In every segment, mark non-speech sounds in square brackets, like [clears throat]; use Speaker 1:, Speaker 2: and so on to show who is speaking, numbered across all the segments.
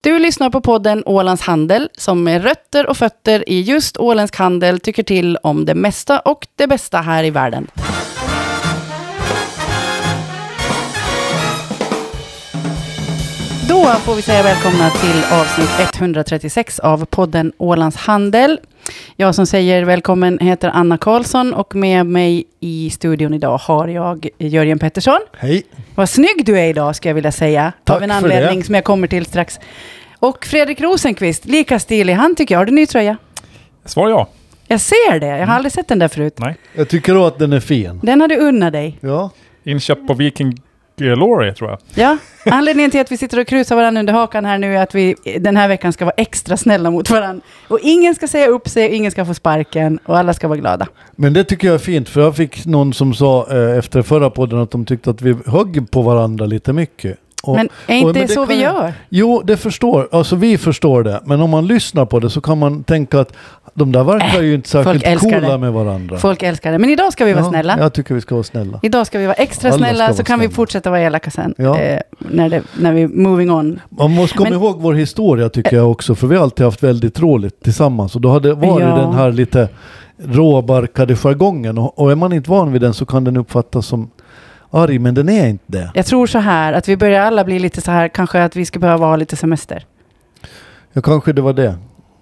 Speaker 1: Du lyssnar på podden Ålands Handel som med rötter och fötter i just åländsk handel tycker till om det mesta och det bästa här i världen. Då får vi säga välkomna till avsnitt 136 av podden Ålands Handel. Jag som säger välkommen heter Anna Karlsson och med mig i studion idag har jag Jörgen Pettersson.
Speaker 2: Hej.
Speaker 1: Vad snygg du är idag, ska jag vilja säga.
Speaker 2: Tack
Speaker 1: av en
Speaker 2: för
Speaker 1: anledning
Speaker 2: det.
Speaker 1: som jag kommer till strax. Och Fredrik Rosenqvist, lika stilig han tycker jag. Har du ny tröja?
Speaker 3: Svar ja.
Speaker 1: Jag ser det.
Speaker 2: Mm.
Speaker 1: Jag har aldrig sett den där förut.
Speaker 3: Nej.
Speaker 2: Jag tycker då att den är fin.
Speaker 1: Den har du unnat dig.
Speaker 2: Ja.
Speaker 3: Inköp på Viking Glory tror jag.
Speaker 1: Ja. Anledningen till att vi sitter och krusar varandra under hakan här nu är att vi den här veckan ska vara extra snälla mot varandra. Och ingen ska säga upp sig, ingen ska få sparken och alla ska vara glada.
Speaker 2: Men det tycker jag är fint för jag fick någon som sa eh, efter förra podden att de tyckte att vi högg på varandra lite mycket. Och,
Speaker 1: Men är
Speaker 2: och-
Speaker 1: inte
Speaker 2: men det
Speaker 1: så vi
Speaker 2: kan jag-
Speaker 1: gör?
Speaker 2: Jo, det förstår, alltså vi förstår det. Men om man lyssnar på det så kan man tänka att de där verkar ju inte
Speaker 1: Äh, folk
Speaker 2: särskilt
Speaker 1: älskar
Speaker 2: coola
Speaker 1: det.
Speaker 2: med varandra.
Speaker 1: Folk älskar det. Men idag ska vi vara
Speaker 2: ja,
Speaker 1: snälla.
Speaker 2: Jag tycker vi ska vara snälla.
Speaker 1: Idag ska vi vara extra
Speaker 2: Alla ska
Speaker 1: snälla,
Speaker 2: vara
Speaker 1: så kan vi
Speaker 2: snälla.
Speaker 1: fortsätta vara elaka sen.
Speaker 2: Ja.
Speaker 1: Eh, när, det, när vi moving on.
Speaker 2: Man måste komma
Speaker 1: Men-
Speaker 2: ihåg vår historia tycker jag också, för vi har alltid haft väldigt roligt tillsammans. Och då har det varit
Speaker 1: Ja.
Speaker 2: den här lite råbarkade jargongen. Och, och är man inte van vid den så kan den uppfattas som arg, men den är inte det.
Speaker 1: Jag tror så här, att vi börjar alla bli lite så här, kanske att vi ska behöva ha lite semester.
Speaker 2: Ja, kanske det var det.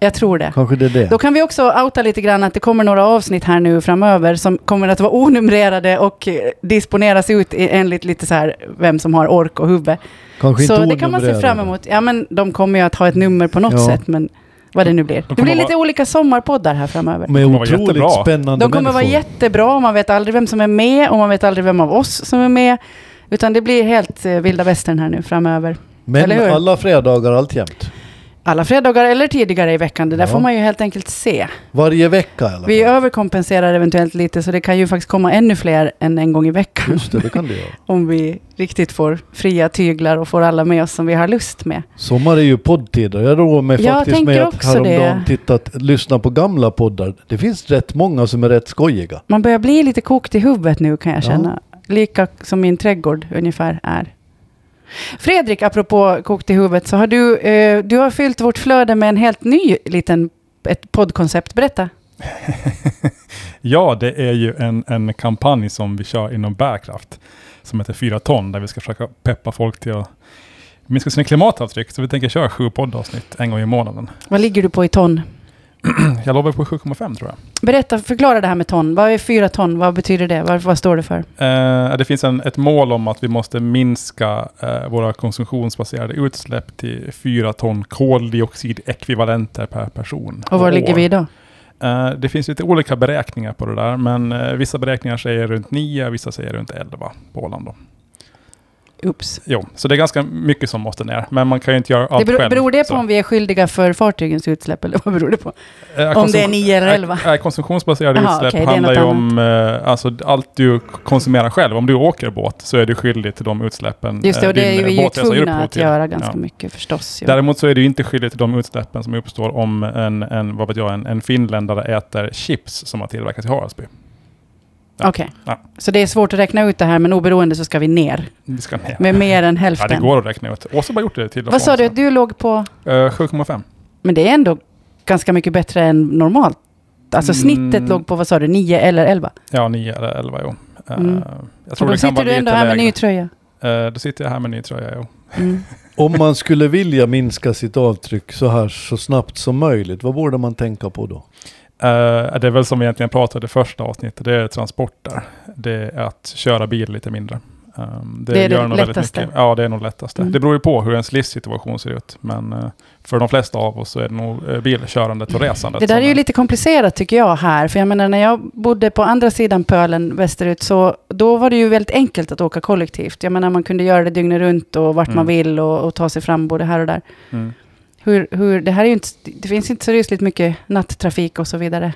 Speaker 1: Jag tror det.
Speaker 2: Kanske det är det.
Speaker 1: Då kan vi också outa lite grann att det kommer några avsnitt här nu framöver som kommer att vara onumrerade och eh, disponeras ut i- enligt lite så här vem som har ork och huvud.
Speaker 2: kanske
Speaker 1: Så
Speaker 2: inte
Speaker 1: det kan man se
Speaker 2: onumrerade.
Speaker 1: fram emot. Ja men de kommer ju att ha ett nummer på något
Speaker 2: Ja.
Speaker 1: sätt men vad det nu blir. Det
Speaker 3: kommer
Speaker 1: blir
Speaker 3: vara-
Speaker 1: lite olika sommarpoddar här framöver.
Speaker 2: Med
Speaker 3: kommer vara jättebra.
Speaker 2: otroligt spännande
Speaker 1: De kommer vara
Speaker 2: människor.
Speaker 1: jättebra, man vet aldrig vem som är med och man vet aldrig vem av oss som är med. Utan det blir helt eh, vilda västern här nu framöver. eller hur?
Speaker 2: Men alla fredagar alltjämt.
Speaker 1: Alla fredagar eller tidigare i veckan, det där
Speaker 2: Ja.
Speaker 1: får man ju helt enkelt se.
Speaker 2: Varje vecka i alla fall.
Speaker 1: Vi överkompenserar eventuellt lite, så det kan ju faktiskt komma ännu fler än en gång i veckan.
Speaker 2: Just det, det kan det göra.
Speaker 1: Om vi riktigt får fria tyglar och får alla med oss som vi har lust med.
Speaker 2: Sommar är ju poddtider. Jag roar mig
Speaker 1: Jag
Speaker 2: faktiskt
Speaker 1: tänker
Speaker 2: med att
Speaker 1: också
Speaker 2: häromdagen
Speaker 1: det.
Speaker 2: tittat, lyssna på gamla poddar. Det finns rätt många som är rätt skojiga.
Speaker 1: Man börjar bli lite kokt i huvudet nu kan jag
Speaker 2: Ja.
Speaker 1: känna. Lika som min trädgård ungefär är. Fredrik, apropå kokt i huvudet, så har du, eh, du har fyllt vårt flöde med en helt ny liten ett poddkoncept. Berätta.
Speaker 3: Ja, det är ju en, en kampanj som vi kör inom bärkraft. Som heter 4 ton, där vi ska försöka peppa folk till att minska sina klimatavtryck. Så vi tänker köra sju poddavsnitt en gång i månaden.
Speaker 1: Vad ligger du på i ton?
Speaker 3: [clears throat] Jag lovar på 7,5 tror jag.
Speaker 1: Berätta, förklara det här med ton. Vad är fyra ton? Vad betyder det? Vad, vad står det för?
Speaker 3: Eh, det finns en, ett mål om att vi måste minska eh, våra konsumtionsbaserade utsläpp till 4 ton koldioxidekvivalenter per person.
Speaker 1: Och
Speaker 3: och
Speaker 1: var
Speaker 3: år.
Speaker 1: ligger vi idag?
Speaker 3: Eh, Det finns lite olika beräkningar på det där, men eh, vissa beräkningar säger runt 9, vissa säger runt 11 på Åland. Då.
Speaker 1: Ups.
Speaker 3: Jo, så det är ganska mycket som måste ner, men man kan ju inte göra allt
Speaker 1: Det beror,
Speaker 3: själv.
Speaker 1: beror det på
Speaker 3: så.
Speaker 1: om vi är skyldiga för fartygens utsläpp eller vad beror det på?
Speaker 3: Eh,
Speaker 1: Om
Speaker 3: konsum-
Speaker 1: det är 9 eller 11?
Speaker 3: Eh, eh, Konsumtionsbaserade
Speaker 1: Aha,
Speaker 3: utsläpp
Speaker 1: okej, det är
Speaker 3: handlar ju
Speaker 1: något
Speaker 3: om eh, alltså, allt du k- konsumerar själv. Om du åker båt så är du skyldig till de utsläppen
Speaker 1: Just det,
Speaker 3: eh,
Speaker 1: och det är
Speaker 3: din
Speaker 1: vi ju
Speaker 3: båtresa ger
Speaker 1: tvungna
Speaker 3: upphov
Speaker 1: att
Speaker 3: till.
Speaker 1: göra ganska
Speaker 3: Ja.
Speaker 1: mycket förstås. ju.
Speaker 3: Däremot så är du inte skyldig till de utsläppen som uppstår om en, en, vad vet jag, en, en finländare äter chips som har tillverkats i Haraldsby. Ja.
Speaker 1: Okej.
Speaker 3: Ja.
Speaker 1: Så det är svårt att räkna ut det här, men oberoende så ska vi ner
Speaker 3: Vi ska ner.
Speaker 1: med mer än
Speaker 3: Ja,
Speaker 1: hälften.
Speaker 3: det går att räkna ut. Åsa har bara gjort det till och
Speaker 1: Vad
Speaker 3: från,
Speaker 1: sa du
Speaker 3: så.
Speaker 1: att du låg på?
Speaker 3: Eh, 7,5.
Speaker 1: Men det är ändå ganska mycket bättre än normalt. Alltså
Speaker 3: Mm.
Speaker 1: snittet låg på, vad sa du, 9 eller 11?
Speaker 3: Ja, 9 eller 11, jo. Eh,
Speaker 1: Mm.
Speaker 3: Jag
Speaker 1: Och
Speaker 3: tror
Speaker 1: då
Speaker 3: det kan
Speaker 1: sitter
Speaker 3: vara
Speaker 1: du
Speaker 3: lite
Speaker 1: ändå här med ny
Speaker 3: lägre.
Speaker 1: tröja.
Speaker 3: Eh, Då sitter jag här med ny tröja, jo.
Speaker 1: Mm.
Speaker 2: Om man skulle vilja minska sitt avtryck så här så snabbt som möjligt, vad borde man tänka på då?
Speaker 3: Eh, Det är väl som vi egentligen pratade i första avsnittet, det är transporter. Det är att köra bil lite mindre. Eh,
Speaker 1: Det är det
Speaker 3: nog väldigt
Speaker 1: lättaste.
Speaker 3: mycket. Ja, det är nog lättaste.
Speaker 1: Mm.
Speaker 3: Det beror ju på hur ens livssituation ser ut, men eh, för de flesta av oss så är det nog eh, bilkörandet och resandet.
Speaker 1: Det där
Speaker 3: som
Speaker 1: är ju lite komplicerat tycker jag här. För jag menar när jag bodde på andra sidan pölen västerut så då var det ju väldigt enkelt att åka kollektivt. Jag menar man kunde göra det dygnet runt och vart man
Speaker 3: Mm.
Speaker 1: vill och, och ta sig fram både här och där.
Speaker 3: Mm.
Speaker 1: Hur, hur, det, här är ju inte, det finns inte så rysligt mycket nattrafik och så vidare.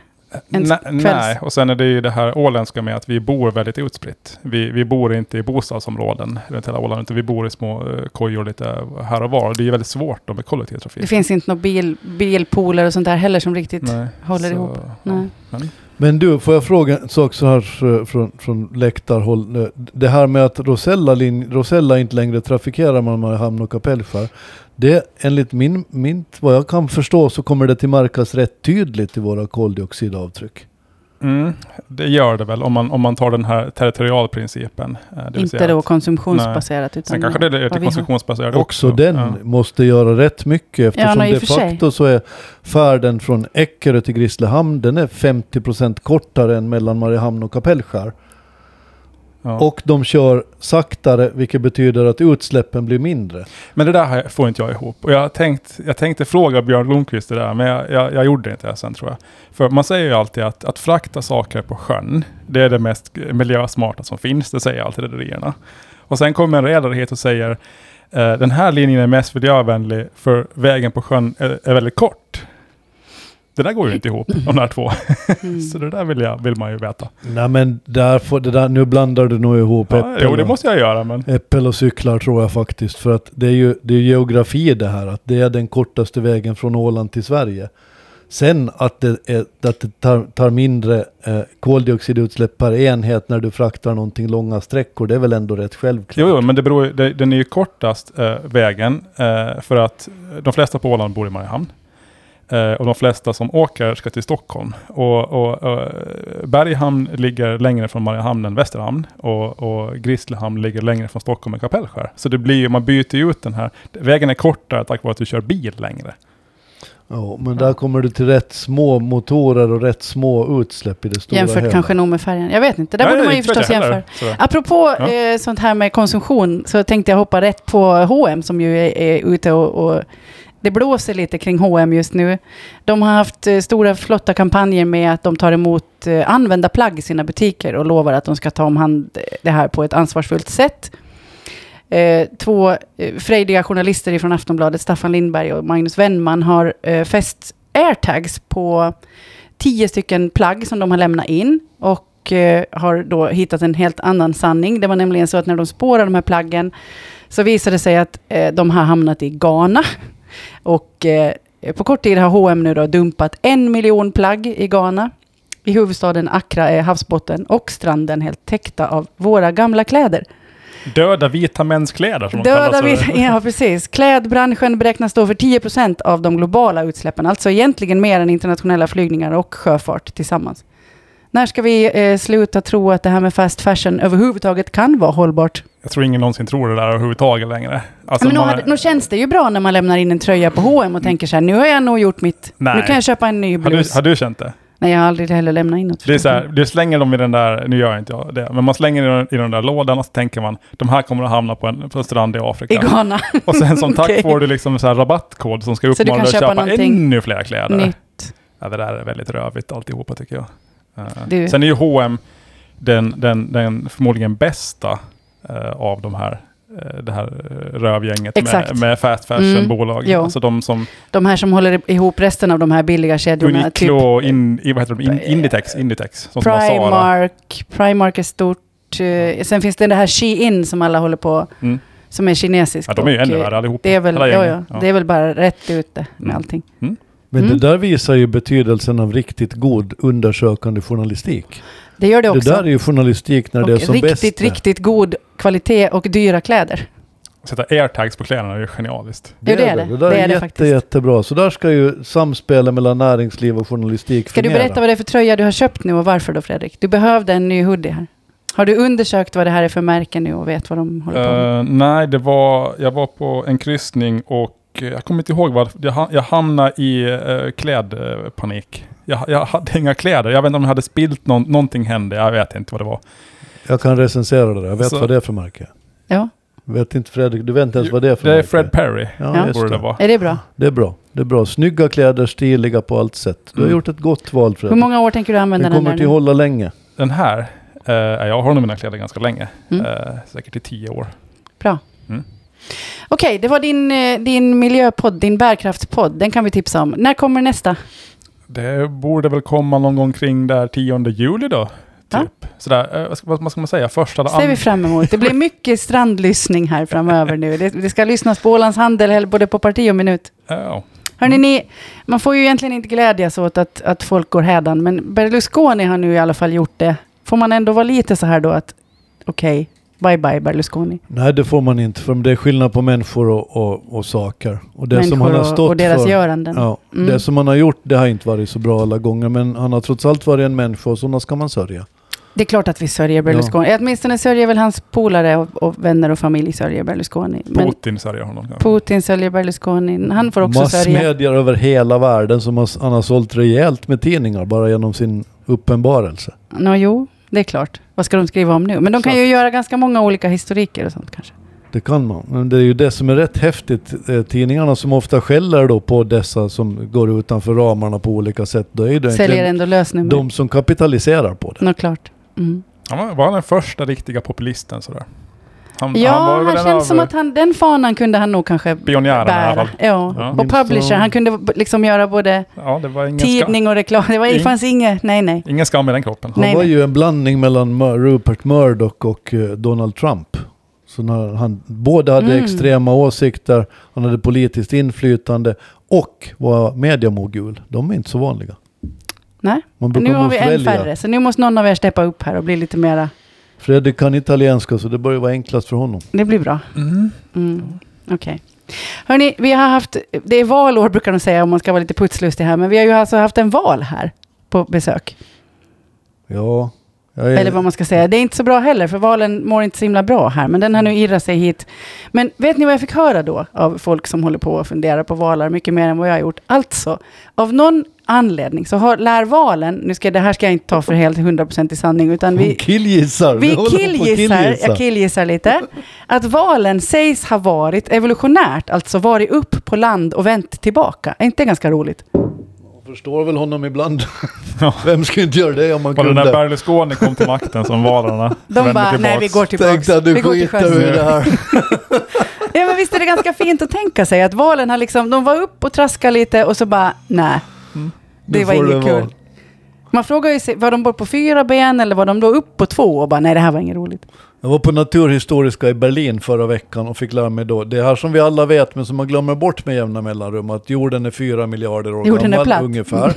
Speaker 1: En
Speaker 3: Nej,
Speaker 1: kvälls-
Speaker 3: nej, och sen är det ju det här åländska med att vi bor väldigt utspritt. Vi, vi bor inte i bostadsområden runt hela Åland, utan vi bor i små eh, kojor lite här och var. Det är ju väldigt svårt då med kollektivtrafik.
Speaker 1: Det finns inte några bil, bilpooler och sånt där heller som riktigt
Speaker 3: Nej,
Speaker 1: håller ihop.
Speaker 3: Ja.
Speaker 1: Nej.
Speaker 3: Men,
Speaker 2: Men du, får jag fråga en sak så här så- från, från läktarhåll? nu? Det här med att Rosella, lin, Rosella inte längre trafikerar Malmöhamn och Kapellskär. Det, enligt min, min, vad jag kan förstå så kommer det till märkas rätt tydligt i våra koldioxidavtryck.
Speaker 3: Mm, det gör det väl om man, om man tar den här territorialprincipen. eh, Det vill
Speaker 1: Inte
Speaker 3: säga
Speaker 1: då
Speaker 3: att-
Speaker 1: konsumtionsbaserat utan
Speaker 3: Sen kanske det är
Speaker 1: vad
Speaker 3: till
Speaker 1: vi har.
Speaker 3: konsumtionsbaserade också.
Speaker 2: Också den
Speaker 3: Ja.
Speaker 2: måste göra rätt mycket eftersom
Speaker 1: nej, i
Speaker 2: de
Speaker 1: och för sig.
Speaker 2: facto så är färden från Eckerö till Grisslehamn den är 50% kortare än mellan Mariehamn och Kapellskär.
Speaker 3: Ja.
Speaker 2: Och de kör saktare vilket betyder att utsläppen blir mindre.
Speaker 3: Men det där har jag- får inte jag ihop. Och jag, tänkt, jag tänkte fråga Björn Blomqvist det där, men jag, jag, jag gjorde inte det sen tror jag. För man säger ju alltid att, att frakta saker på sjön, det är det mest miljösmarta som finns. Det säger alltid rederierna. Och sen kommer en redare hit och säger eh, den här linjen är mest miljövänlig för vägen på sjön är, är väldigt kort. Det där går ju inte ihop, de där två. [laughs]
Speaker 1: Mm.
Speaker 3: Så det där vill, jag, vill man ju veta.
Speaker 2: Nej men där får, det där, nu blandar du nog ihop
Speaker 3: Ja, jo, det
Speaker 2: och-
Speaker 3: måste jag göra, men...
Speaker 2: äppel och cyklar tror jag faktiskt. För att det är ju det är geografi det här. Att det är den kortaste vägen från Åland till Sverige. Sen att det, är, att det tar, tar mindre eh, koldioxidutsläpp per enhet när du fraktar någonting långa sträckor. Det är väl ändå rätt självklart.
Speaker 3: Jo, jo men det beror, ju- det, den är ju kortast eh, vägen eh, för att de flesta på Åland bor i Mariehamn. Eh, och de flesta som åker ska till Stockholm. Och, och, eh, Berghamn ligger längre från Mariehamn än Västerhamn. Och, och Grisslehamn ligger längre från Stockholm än Kapellskär. Så det blir ju, man byter ju ut den här. Vägen är kortare tack vare att du kör bil längre.
Speaker 2: Ja, men där kommer du till rätt små motorer och rätt små utsläpp i det stora
Speaker 1: Jämfört
Speaker 2: hela.
Speaker 1: kanske nog med färgen. Jag vet inte, där
Speaker 3: Nej,
Speaker 1: borde man ju
Speaker 3: inte vet
Speaker 1: förstås
Speaker 3: jag heller.
Speaker 1: jämföra.
Speaker 3: Så-
Speaker 1: Apropå
Speaker 3: Ja.
Speaker 1: eh, sånt här med konsumtion så tänkte jag hoppa rätt på H&M som ju är, är ute och, och det blåser lite kring H&M just nu. De har haft eh, stora flotta kampanjer med att de tar emot eh, använda plagg i sina butiker och lovar att de ska ta om hand det här på ett ansvarsfullt sätt. Eh, två eh, frejdiga journalister från Aftonbladet, Staffan Lindberg och Magnus Wennman, har eh, fäst airtags på tio stycken plagg som de har lämnat in och eh, har då hittat en helt annan sanning. Det var nämligen så att när de spårar de här plaggen så visade det sig att eh, de har hamnat i Ghana. Och eh, på kort tid har H&M nu då dumpat en miljon plagg i Ghana. I huvudstaden Accra är havsbotten och stranden helt täckta av våra gamla kläder.
Speaker 3: Döda vita mäns kläder som de
Speaker 1: Döda
Speaker 3: kallas för.
Speaker 1: vill, [laughs] ja precis. Klädbranschen beräknas stå för 10% av de globala utsläppen, alltså egentligen mer än internationella flygningar och sjöfart tillsammans. När ska vi eh, sluta tro att det här med fast fashion överhuvudtaget kan vara hållbart?
Speaker 3: Jag tror ingen någonsin tror det där överhuvudtaget längre. Alltså,
Speaker 1: Men nog,
Speaker 3: man-
Speaker 1: hade, nog känns det ju bra när man lämnar in en tröja på H&M och tänker så här, nu har jag nog gjort mitt. Nu
Speaker 3: Nej.
Speaker 1: kan jag köpa en ny
Speaker 3: har, du,
Speaker 1: blus.
Speaker 3: har du känt det?
Speaker 1: Nej, jag har aldrig heller lämnat in något.
Speaker 3: Det är
Speaker 1: förstås.
Speaker 3: så här, du slänger dem i den där, nu gör jag inte jag det, men man slänger i den, i den där lådan och så tänker man, de här kommer att hamna på en, på en strand i Afrika.
Speaker 1: I Ghana.
Speaker 3: Och sen som tack
Speaker 1: [laughs] Okej.
Speaker 3: får du liksom så här rabattkod som ska
Speaker 1: Så du kan
Speaker 3: uppmana dig att
Speaker 1: köpa
Speaker 3: köpa,
Speaker 1: någonting
Speaker 3: ännu
Speaker 1: [laughs]
Speaker 3: fler kläder.
Speaker 1: Nytt.
Speaker 3: Ja, det där är väldigt rövigt alltihopa tycker jag. Eh,
Speaker 1: Du-
Speaker 3: Sen är ju H&M den, den, den förmodligen bästa eh, av de här eh, det här eh, rövgänget
Speaker 1: Exakt. Mm.
Speaker 3: med, med fast fashion-bolag.
Speaker 1: Jo.
Speaker 3: Alltså de som
Speaker 1: De här som håller ihop resten av de här billiga kedjorna. typ
Speaker 3: Uniqlo, in, i- vad heter de? In, Inditex, Inditex, som, som har Zara.
Speaker 1: Primark. Primark är stort. eh, Sen finns det det här Shein som alla håller på,
Speaker 3: Mm.
Speaker 1: som är kinesiskt.
Speaker 3: Ja, de är ju
Speaker 1: och,
Speaker 3: ännu
Speaker 1: eh,
Speaker 3: värre allihopa.
Speaker 1: Det är, väl,
Speaker 3: Hela
Speaker 1: ja,
Speaker 3: gänget.
Speaker 1: ja, det är väl bara rätt ute med
Speaker 3: Mm.
Speaker 1: allting.
Speaker 2: Men
Speaker 1: Mm.
Speaker 2: det där visar ju betydelsen av riktigt god undersökande journalistik.
Speaker 1: Det gör det
Speaker 2: Det,
Speaker 1: också.
Speaker 2: där är ju journalistik när det är
Speaker 1: och
Speaker 2: som bäst.
Speaker 1: riktigt, riktigt god kvalitet och dyra kläder.
Speaker 3: Sätta airtags på kläderna är ju genialiskt.
Speaker 1: Jo, det är det.
Speaker 2: Det där
Speaker 1: Det
Speaker 2: är,
Speaker 1: är det
Speaker 2: jätte,
Speaker 1: faktiskt.
Speaker 2: jättebra. Så där ska ju samspelet mellan näringsliv och journalistik
Speaker 1: Ska du
Speaker 2: fungera.
Speaker 1: berätta vad det är för tröja du har köpt nu och varför då Fredrik? Du behövde en ny hoodie här. Har du undersökt vad det här är för märke nu och vet vad de håller på med?
Speaker 3: Eh, nej, det var, jag var på en kryssning och eh, jag kommer inte ihåg vad, jag, ha- jag hamnade i eh, klädpanik. Jag, jag hade inga kläder, jag vet inte om jag hade spilt någon, någonting hände, jag vet inte vad det var.
Speaker 2: Jag kan recensera det där. Jag vet
Speaker 3: Så-
Speaker 2: vad det är för märke.
Speaker 1: Ja,
Speaker 2: Vet inte Fredrik, du vet inte ens
Speaker 3: Jo,
Speaker 2: vad det är för
Speaker 3: Det är
Speaker 2: märke.
Speaker 3: Fred Perry,
Speaker 2: Ja,
Speaker 1: Ja.
Speaker 2: Just
Speaker 3: borde det
Speaker 2: det.
Speaker 3: vara.
Speaker 1: är det bra?
Speaker 2: det är bra. Det är bra. Snygga kläder, stiliga på allt sätt. Du har
Speaker 3: Mm.
Speaker 2: gjort ett gott val
Speaker 1: Hur
Speaker 2: Fredrik.
Speaker 1: många år tänker du använda
Speaker 2: Den
Speaker 1: den
Speaker 2: kommer
Speaker 1: här
Speaker 2: till
Speaker 1: nu?
Speaker 2: hålla länge.
Speaker 3: Den här, eh, jag har nog mina kläder ganska länge,
Speaker 1: Mm.
Speaker 3: eh, säkert i tio år.
Speaker 1: Bra.
Speaker 3: Mm.
Speaker 1: Okej, det var din, eh, din miljöpodd, din bärkraftspodd. Den kan vi tipsa om. När kommer nästa?
Speaker 3: Det borde väl komma någon gång kring där 10 juli då.
Speaker 1: Ja.
Speaker 3: Typ. Sådär, eh, vad ska- vad ska man säga? Första eller
Speaker 1: ser vi
Speaker 3: andra?
Speaker 1: fram emot. Det blir mycket strandlyssning här framöver nu. Det, det ska lyssnas på Ålands Handel, eller både på parti och minut.
Speaker 3: Ja.
Speaker 2: Mm.
Speaker 1: Hörrni, ni, man får ju egentligen inte glädjas åt att, att folk går hädan, men Berlusconi har nu i alla fall gjort det. Får man ändå vara lite så här då att okej, bye bye Berlusconi.
Speaker 2: Nej, det får man inte. För det är skillnad på människor och, och, och saker. Och det som
Speaker 1: Människor
Speaker 2: han har
Speaker 1: och-
Speaker 2: stått
Speaker 1: och deras
Speaker 2: för.
Speaker 1: göranden.
Speaker 2: Ja,
Speaker 1: Mm.
Speaker 2: Det som han har gjort, det har inte varit så bra alla gånger. Men han har trots allt varit en människa och sådana ska man sörja.
Speaker 1: Det är klart att vi sörjer Berlusconi. Åtminstone sörjer väl hans polare och, och vänner och familj sörjer Berlusconi. Men
Speaker 3: Putin sörjer honom. kanske.
Speaker 1: Putin sörjer Berlusconi. Han får också sörja.
Speaker 2: Massmedier över hela världen som har, han har sålt rejält med tidningar bara genom sin uppenbarelse.
Speaker 1: Nå, jo, det är klart. Vad ska de skriva om nu? Men de kan
Speaker 2: Så
Speaker 1: ju göra ganska många olika historiker och sånt kanske.
Speaker 2: Det kan man. Men det är ju det som är rätt häftigt. Eh, Tidningarna som ofta skäller då på dessa som går utanför ramarna på olika sätt. Då är det
Speaker 1: Säljer
Speaker 2: egentligen
Speaker 1: ändå lösnummer.
Speaker 2: de som kapitaliserar på det.
Speaker 1: Nå, klart. Mm.
Speaker 3: Han var, var han den första riktiga populisten sådär? Han,
Speaker 1: Ja,
Speaker 3: var
Speaker 1: han,
Speaker 3: väl en
Speaker 1: känns
Speaker 3: av
Speaker 1: som att han, den fanan kunde han nog kanske
Speaker 3: Pionjärerna i
Speaker 1: bära.
Speaker 3: alla fall.
Speaker 1: Ja.
Speaker 3: Ja.
Speaker 1: Och publisher, han kunde b- liksom göra både
Speaker 3: Ja, det var ingen skam.
Speaker 1: tidning och reklam. Det var, det
Speaker 3: Ing-
Speaker 1: fanns inget, nej nej.
Speaker 3: Ingen skam i den kroppen.
Speaker 2: Han
Speaker 1: Nej,
Speaker 2: var
Speaker 1: nej.
Speaker 2: ju en blandning mellan Mur- Rupert Murdoch och eh, Donald Trump. Så när han båda hade
Speaker 1: Mm.
Speaker 2: extrema åsikter, han hade politiskt inflytande och var mediamogul. De är inte så vanliga.
Speaker 1: Nej.
Speaker 2: Man brukar
Speaker 1: Nu har vi
Speaker 2: måste
Speaker 1: en
Speaker 2: välja.
Speaker 1: färre, så nu måste någon av er steppa upp här och bli lite mera.
Speaker 2: Fredrik kan italienska så det börjar vara enklast för honom.
Speaker 1: Det blir bra.
Speaker 3: Mm.
Speaker 1: Mm. Okej. Hörni, vi har haft, det är valår brukar de säga om man ska vara lite putslustig här, men vi har ju alltså haft en val här på besök.
Speaker 2: Ja, jag är,
Speaker 1: Eller vad man ska säga. Det är inte så bra heller, för valen mår inte så himla bra här, men den har nu irrat sig hit. Men vet ni vad jag fick höra då av folk som håller på och funderar på valar mycket mer än vad jag har gjort? Alltså, av någon anledning så har, lär valen, nu ska, det här ska jag inte ta för helt 100% i sanning, utan
Speaker 2: hon
Speaker 1: vi,
Speaker 2: killgissar.
Speaker 1: vi
Speaker 2: håller på att
Speaker 1: killgissar,
Speaker 2: killgissa.
Speaker 1: jag killgissar lite, att valen sägs ha varit evolutionärt, alltså varit upp på land och vänt tillbaka. Är inte det ganska roligt?
Speaker 2: Jag förstår väl honom ibland.
Speaker 3: Ja.
Speaker 2: Vem skulle inte göra det om man
Speaker 3: Var det när
Speaker 2: kunde?
Speaker 3: Berlusconi kom till makten som valarna
Speaker 1: [laughs] De bara, nej vi går tillbaks.
Speaker 2: Tänkte att
Speaker 1: vi
Speaker 2: du
Speaker 1: går till
Speaker 2: skiter
Speaker 1: sjöss."
Speaker 2: i det här.
Speaker 1: Ja men visst är det ganska fint att tänka sig att valen har liksom, de var upp och traskade lite och så bara, nej. Det
Speaker 2: Nu
Speaker 1: var
Speaker 2: får
Speaker 1: inget
Speaker 2: det vara.
Speaker 1: kul. Man frågar ju sig, var de bara på fyra ben eller var de då upp på två och bara, nej det här var inget roligt.
Speaker 2: Jag var på Naturhistoriska i Berlin förra veckan och fick lära mig då, det här som vi alla vet men som man glömmer bort med jämna mellanrum, att jorden är fyra miljarder år
Speaker 1: Jorden är
Speaker 2: gammal
Speaker 1: platt. [laughs]
Speaker 2: ungefär.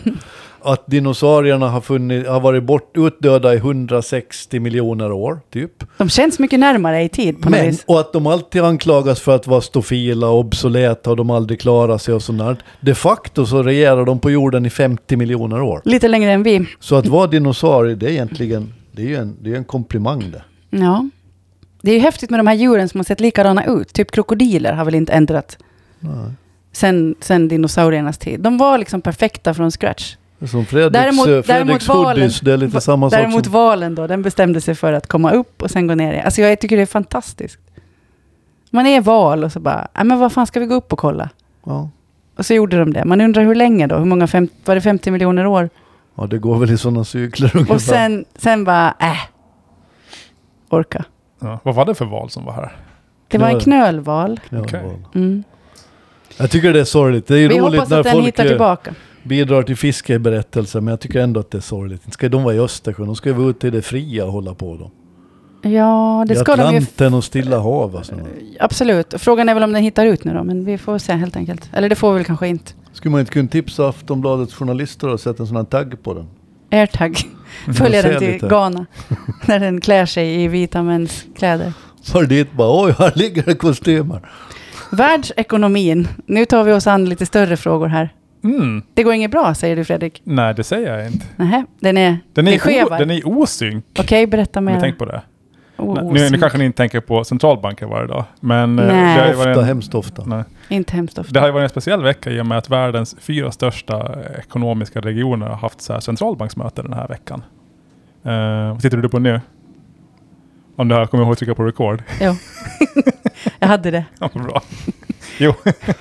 Speaker 2: Att dinosaurierna har, funnit, har varit bort, utdöda i 160 miljoner år, typ.
Speaker 1: De känns mycket närmare i tid på något
Speaker 2: Men,
Speaker 1: vis.
Speaker 2: och att de alltid anklagas för att vara stofila, obsoleta och de aldrig klarar sig och sånt där. De facto så regerar de på jorden i 50 miljoner år.
Speaker 1: Lite längre än vi.
Speaker 2: Så att vara dinosaurie, det är egentligen, det är ju en, det är en komplimang det.
Speaker 1: Ja. Det är ju häftigt med de här djuren som har sett likadana ut. Typ krokodiler har väl inte ändrat
Speaker 2: Nej.
Speaker 1: sen, sen dinosauriernas tid. De var liksom perfekta från scratch.
Speaker 2: Det är Som Fredriks,
Speaker 1: Däremot-
Speaker 2: däremot,
Speaker 1: däremot
Speaker 2: Fredriks
Speaker 1: valen-
Speaker 2: hoodies, det är lite
Speaker 1: va-
Speaker 2: samma sak
Speaker 1: Däremot
Speaker 2: som...
Speaker 1: valen då, den bestämde sig för att komma upp och sen gå ner igen. Alltså jag tycker det är fantastiskt. Man är val och så bara, "Ja, men vad fan ska vi gå upp och kolla?
Speaker 2: Ja.
Speaker 1: Och så gjorde de det. Man undrar hur länge då? Hur många, fem, var det 50 miljoner år?
Speaker 2: ja, det går väl i sådana cykler ungefär.
Speaker 1: Och sen, sen bara, äh, orka.
Speaker 3: Ja, vad var det för val som var här?
Speaker 1: Det var en
Speaker 2: Knöl.
Speaker 1: knölval.
Speaker 2: Ja,
Speaker 3: Okej.
Speaker 2: val.
Speaker 1: Mm.
Speaker 2: Jag tycker det är sorgligt. Det är ju
Speaker 1: Vi
Speaker 2: roligt
Speaker 1: hoppas
Speaker 2: när
Speaker 1: att den
Speaker 2: folk
Speaker 1: hittar
Speaker 2: eh,
Speaker 1: tillbaka.
Speaker 2: bidrar till fiskeberättelser, men jag tycker ändå att det är sorgligt. Inte Ska de vara i Östersjön? De ska ju vara ute i det fria och hålla på då.
Speaker 1: Ja, det
Speaker 2: I
Speaker 1: ska de ju.
Speaker 2: Atlanten och Stilla hav och sådana.
Speaker 1: Absolut. Frågan är väl om den hittar ut nu då, men vi får se helt enkelt. Eller det får vi väl kanske inte.
Speaker 2: Skulle man inte kunna tipsa Aftonbladets journalister och sätta en sån här tagg på den?
Speaker 1: Airtag. Följa [laughs]
Speaker 3: Mm.
Speaker 2: Jag ser
Speaker 1: den till
Speaker 2: lite.
Speaker 1: Ghana. När den klär sig i vita mäns kläder.
Speaker 2: För dit bara, oj, här ligger det kostymer.
Speaker 1: Världsekonomin. Nu tar vi oss an lite större frågor här.
Speaker 3: Mm.
Speaker 1: Det går inget bra, säger du Fredrik.
Speaker 3: Nej, det säger jag inte.
Speaker 1: Nähä, den är...
Speaker 3: Den
Speaker 1: det
Speaker 3: är, o,
Speaker 1: skevar.
Speaker 3: den är i osynk.
Speaker 1: Okej, berätta
Speaker 3: Om ni
Speaker 1: mer.
Speaker 3: tänker på det.
Speaker 1: Oh,
Speaker 3: nu, nu
Speaker 1: osynk.
Speaker 3: kanske ni inte tänker på centralbanker varje dag. Men eh,
Speaker 1: Nej.
Speaker 3: Det, har ju varit
Speaker 2: Ofta,
Speaker 3: en,
Speaker 2: hemskt ofta.
Speaker 3: nej,
Speaker 1: Inte hemskt
Speaker 3: det
Speaker 1: ofta.
Speaker 3: har ju varit en speciell vecka i och med att världens fyra största eh, ekonomiska regioner har haft så här centralbanksmöte den här veckan. Eh, vad tittar du på nu? Om du har kommit ihåg att trycka på record. [laughs]
Speaker 1: Jo. jag hade det.
Speaker 3: Ja, vad bra.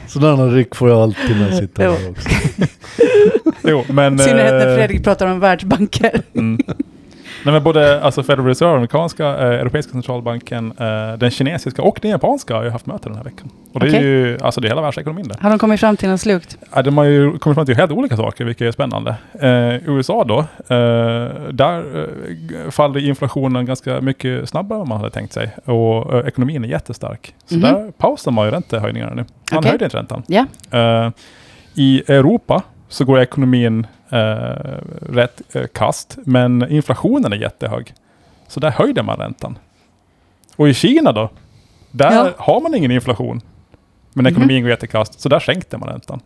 Speaker 2: Sådana ryck får jag alltid när jag
Speaker 1: [laughs]
Speaker 2: sitter
Speaker 1: Jo.
Speaker 2: här också.
Speaker 3: Jo, men...
Speaker 1: I synnerhet när
Speaker 3: eh,
Speaker 1: Fredrik pratar om
Speaker 3: [laughs]
Speaker 1: världsbanker.
Speaker 3: Mm. Nej, men både alltså Federal Reserve, amerikanska, eh, europeiska centralbanken, eh, den kinesiska och den japanska har ju haft möte den här veckan. Och det är
Speaker 1: Okej.
Speaker 3: ju alltså det är hela världsekonomin det.
Speaker 1: Har de kommit fram till något slukt?
Speaker 3: Ja, de har ju kommit fram till helt olika saker, vilket är spännande. Eh, USA då, eh, där eh, g- faller inflationen ganska mycket snabbare än man hade tänkt sig. Och eh, ekonomin är jättestark. Så
Speaker 1: Mhm.
Speaker 3: där pausar man ju räntehöjningarna nu. Man
Speaker 1: Okej.
Speaker 3: höjde inte räntan.
Speaker 1: Ja.
Speaker 3: Eh, I Europa så går ekonomin eh, rätt eh, kast, men inflationen är jättehög. Så där höjde man räntan. Och i Kina då, där
Speaker 1: Ja.
Speaker 3: har man ingen inflation, men ekonomin går jättekast, så där sänkte man räntan.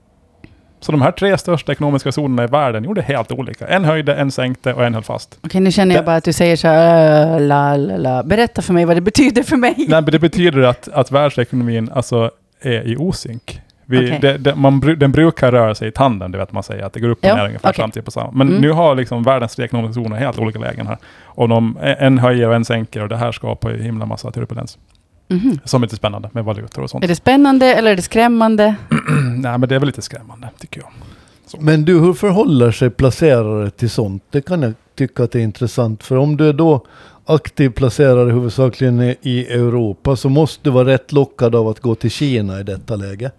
Speaker 3: Så de här tre största ekonomiska zonerna i världen gjorde helt olika. En höjde, en sänkte och en höll fast.
Speaker 1: Okej, nu känner jag
Speaker 3: Det-
Speaker 1: bara att du säger så här, äh, la, la, la. Berätta för mig vad det betyder för mig.
Speaker 3: Nej, men det betyder att, att världsekonomin alltså är i osynk. Vi,
Speaker 1: Okej.
Speaker 3: det, det, man, bru- den brukar röra sig i tandem, det vet man säger, att det går upp och
Speaker 1: Ja,
Speaker 3: ner ungefär
Speaker 1: okej.
Speaker 3: samtidigt på samma. Men
Speaker 1: Mm.
Speaker 3: nu har liksom världens tre ekonomiska zoner helt olika lägen här. Och de, en höjer och en sänker och det här skapar ju himla massa turbulens.
Speaker 1: Mhm.
Speaker 3: Som är lite spännande med valutor och sånt. Mm,
Speaker 1: Är det spännande eller är det skrämmande?
Speaker 3: Nej, men det är väl lite skrämmande tycker jag.
Speaker 2: Men du, hur förhåller sig placerare till sånt? Det kan jag tycka att det är intressant. För om du är då aktiv placerare huvudsakligen i- i Europa så måste du vara rätt lockad av att gå till Kina i detta läge.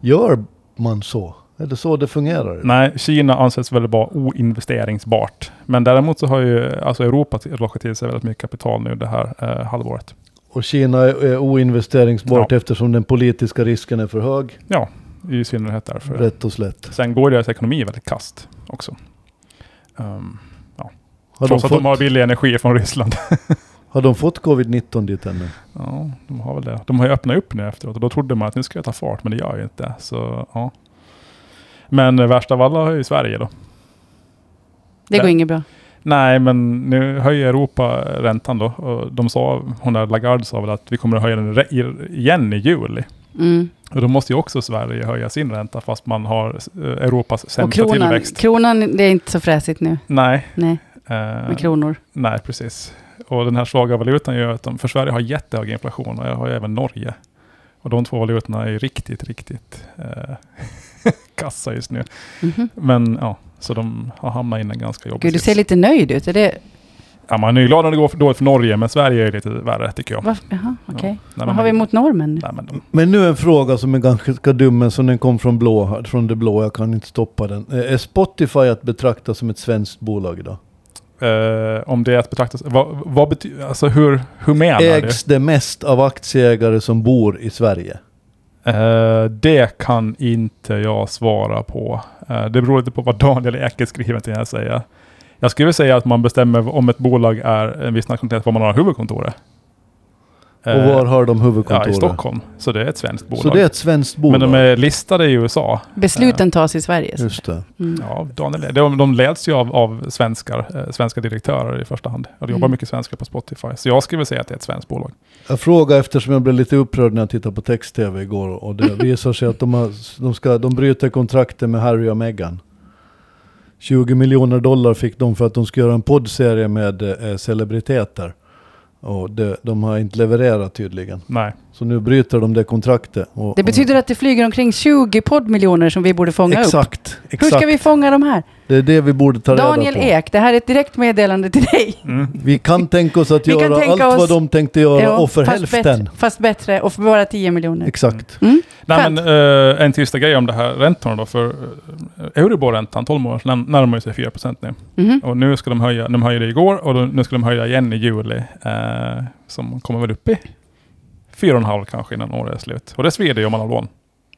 Speaker 2: Gör man så? Är det så det fungerar?
Speaker 3: Nej, Kina anses väl vara oinvesteringsbart. Men däremot så har ju alltså Europa till- lockat till sig väldigt mycket kapital nu det här eh, halvåret.
Speaker 2: Och Kina är är oinvesteringsbart
Speaker 3: Ja.
Speaker 2: eftersom den politiska risken är för hög.
Speaker 3: I synnerhet därför.
Speaker 2: Rätt och slätt.
Speaker 3: Sen går deras ekonomi väldigt kast också. Um,
Speaker 2: Har de,
Speaker 3: trots
Speaker 2: fått,
Speaker 3: att de har billig energi från Ryssland. [laughs]
Speaker 2: har de fått covid-19 dit ännu?
Speaker 3: ja, de har väl det. De har ju öppnat upp nu efteråt och då trodde man att nu ska jag ta fart, men det gör jag ju inte. Så, ja. Men eh, värst av alla är ju Sverige då.
Speaker 1: Det går
Speaker 3: Nej.
Speaker 1: inget bra.
Speaker 3: Nej, men nu höjer Europa räntan då. Och de sa, hon där Lagarde sa väl att vi kommer att höja den re- i- igen i juli.
Speaker 1: Mm.
Speaker 3: Och då måste ju också Sverige höja sin ränta fast man har eh, Europas
Speaker 1: Och
Speaker 3: sämsta
Speaker 1: kronan,
Speaker 3: tillväxt.
Speaker 1: kronan, det är inte så fräsigt nu.
Speaker 3: Nej.
Speaker 1: Nej,
Speaker 3: eh,
Speaker 1: med kronor.
Speaker 3: Nej, precis. Och den här svaga valutan gör att de, för Sverige har jättehög inflation och jag har ju även Norge. Och de två valutorna är ju riktigt, riktigt eh, [laughs] kassa just nu.
Speaker 1: Mhm.
Speaker 3: Men ja, så de har hamnat i en ganska jobbig
Speaker 1: Gud, du
Speaker 3: sits.
Speaker 1: ser lite nöjd ut. Är det...
Speaker 3: ja, man är ju glad när det går för dåligt för Norge, men Sverige är lite värre tycker jag.
Speaker 1: Varför? Jaha, okej.
Speaker 3: Ja. Nej, men
Speaker 1: Vad har vi
Speaker 3: man-
Speaker 1: mot normen nu?
Speaker 3: Nej, men de,
Speaker 2: Men nu en fråga som är ganska dum, men som den kom från, blå, här- från det blå. Jag kan inte stoppa den. Eh, Är Spotify att betrakta som ett svenskt bolag idag?
Speaker 3: eh, om det är att betrakta... Vad, vad betyder... Alltså hur, hur menar du?
Speaker 2: Ägs det mest av aktieägare som bor i Sverige?
Speaker 3: Eh, det kan inte jag svara på. Eh, det beror lite på vad [laughs] Daniel Ek skriver till jag säger. Jag skulle vilja säga att man bestämmer om ett bolag är en viss nationalitet, var man har huvudkontoret. Eh,
Speaker 2: Och var har de
Speaker 3: Ja, i
Speaker 2: huvudkontoret?
Speaker 3: Stockholm. Så det är ett svenskt bolag.
Speaker 2: Så det är ett svenskt bolag?
Speaker 3: Men de är listade i USA.
Speaker 1: Besluten tas i Sverige. så-
Speaker 2: Just det.
Speaker 1: Mm.
Speaker 3: Ja, Daniel, Ek- de, de leds ju av, av svenskar, eh, svenska direktörer i första hand. Och det jobbar
Speaker 1: Mm.
Speaker 3: mycket svenskar på Spotify. Så jag skulle vilja säga att det är ett svenskt bolag.
Speaker 2: Jag frågar eftersom jag blev lite upprörd när jag tittade på text-tv igår och det visar sig att de, har, de, ska, de bryter kontrakten med Harry och Meghan. 20 miljoner dollar fick de för att de ska göra en poddserie med eh, celebriteter. Och det, de har inte levererat tydligen.
Speaker 3: Nej.
Speaker 2: Så nu bryter de det kontraktet. Och,
Speaker 1: Det betyder att det flyger omkring 20 poddmiljoner som vi borde fånga upp.
Speaker 2: Exakt,
Speaker 1: Hur
Speaker 2: exakt.
Speaker 1: ska vi fånga de här?
Speaker 2: Det är det vi borde ta
Speaker 1: Daniel E.
Speaker 2: reda på.
Speaker 1: Ek, det här är ett direkt meddelande till dig.
Speaker 3: Mm.
Speaker 2: Vi kan tänka oss att
Speaker 1: Vi kan
Speaker 2: göra
Speaker 1: tänka
Speaker 2: allt
Speaker 1: oss-
Speaker 2: vad de tänkte göra
Speaker 1: Ja,
Speaker 2: och för
Speaker 1: fast
Speaker 2: hälften.
Speaker 1: bättre- Fast bättre och för bara 10 miljoner.
Speaker 2: Exakt.
Speaker 1: Mm?
Speaker 3: Nej,
Speaker 1: Skönt.
Speaker 3: men, eh, en sista grej om det här räntorna då. För uh, Euribor-räntan, 12 månaders, när- närmar sig 4% nu.
Speaker 1: Mhm.
Speaker 3: Och nu ska de höja, de höjde igår och då, nu ska de höja igen i juli. eh, som kommer väl upp i 4,5 kanske innan året är slut. Och det svider ju om man har lån.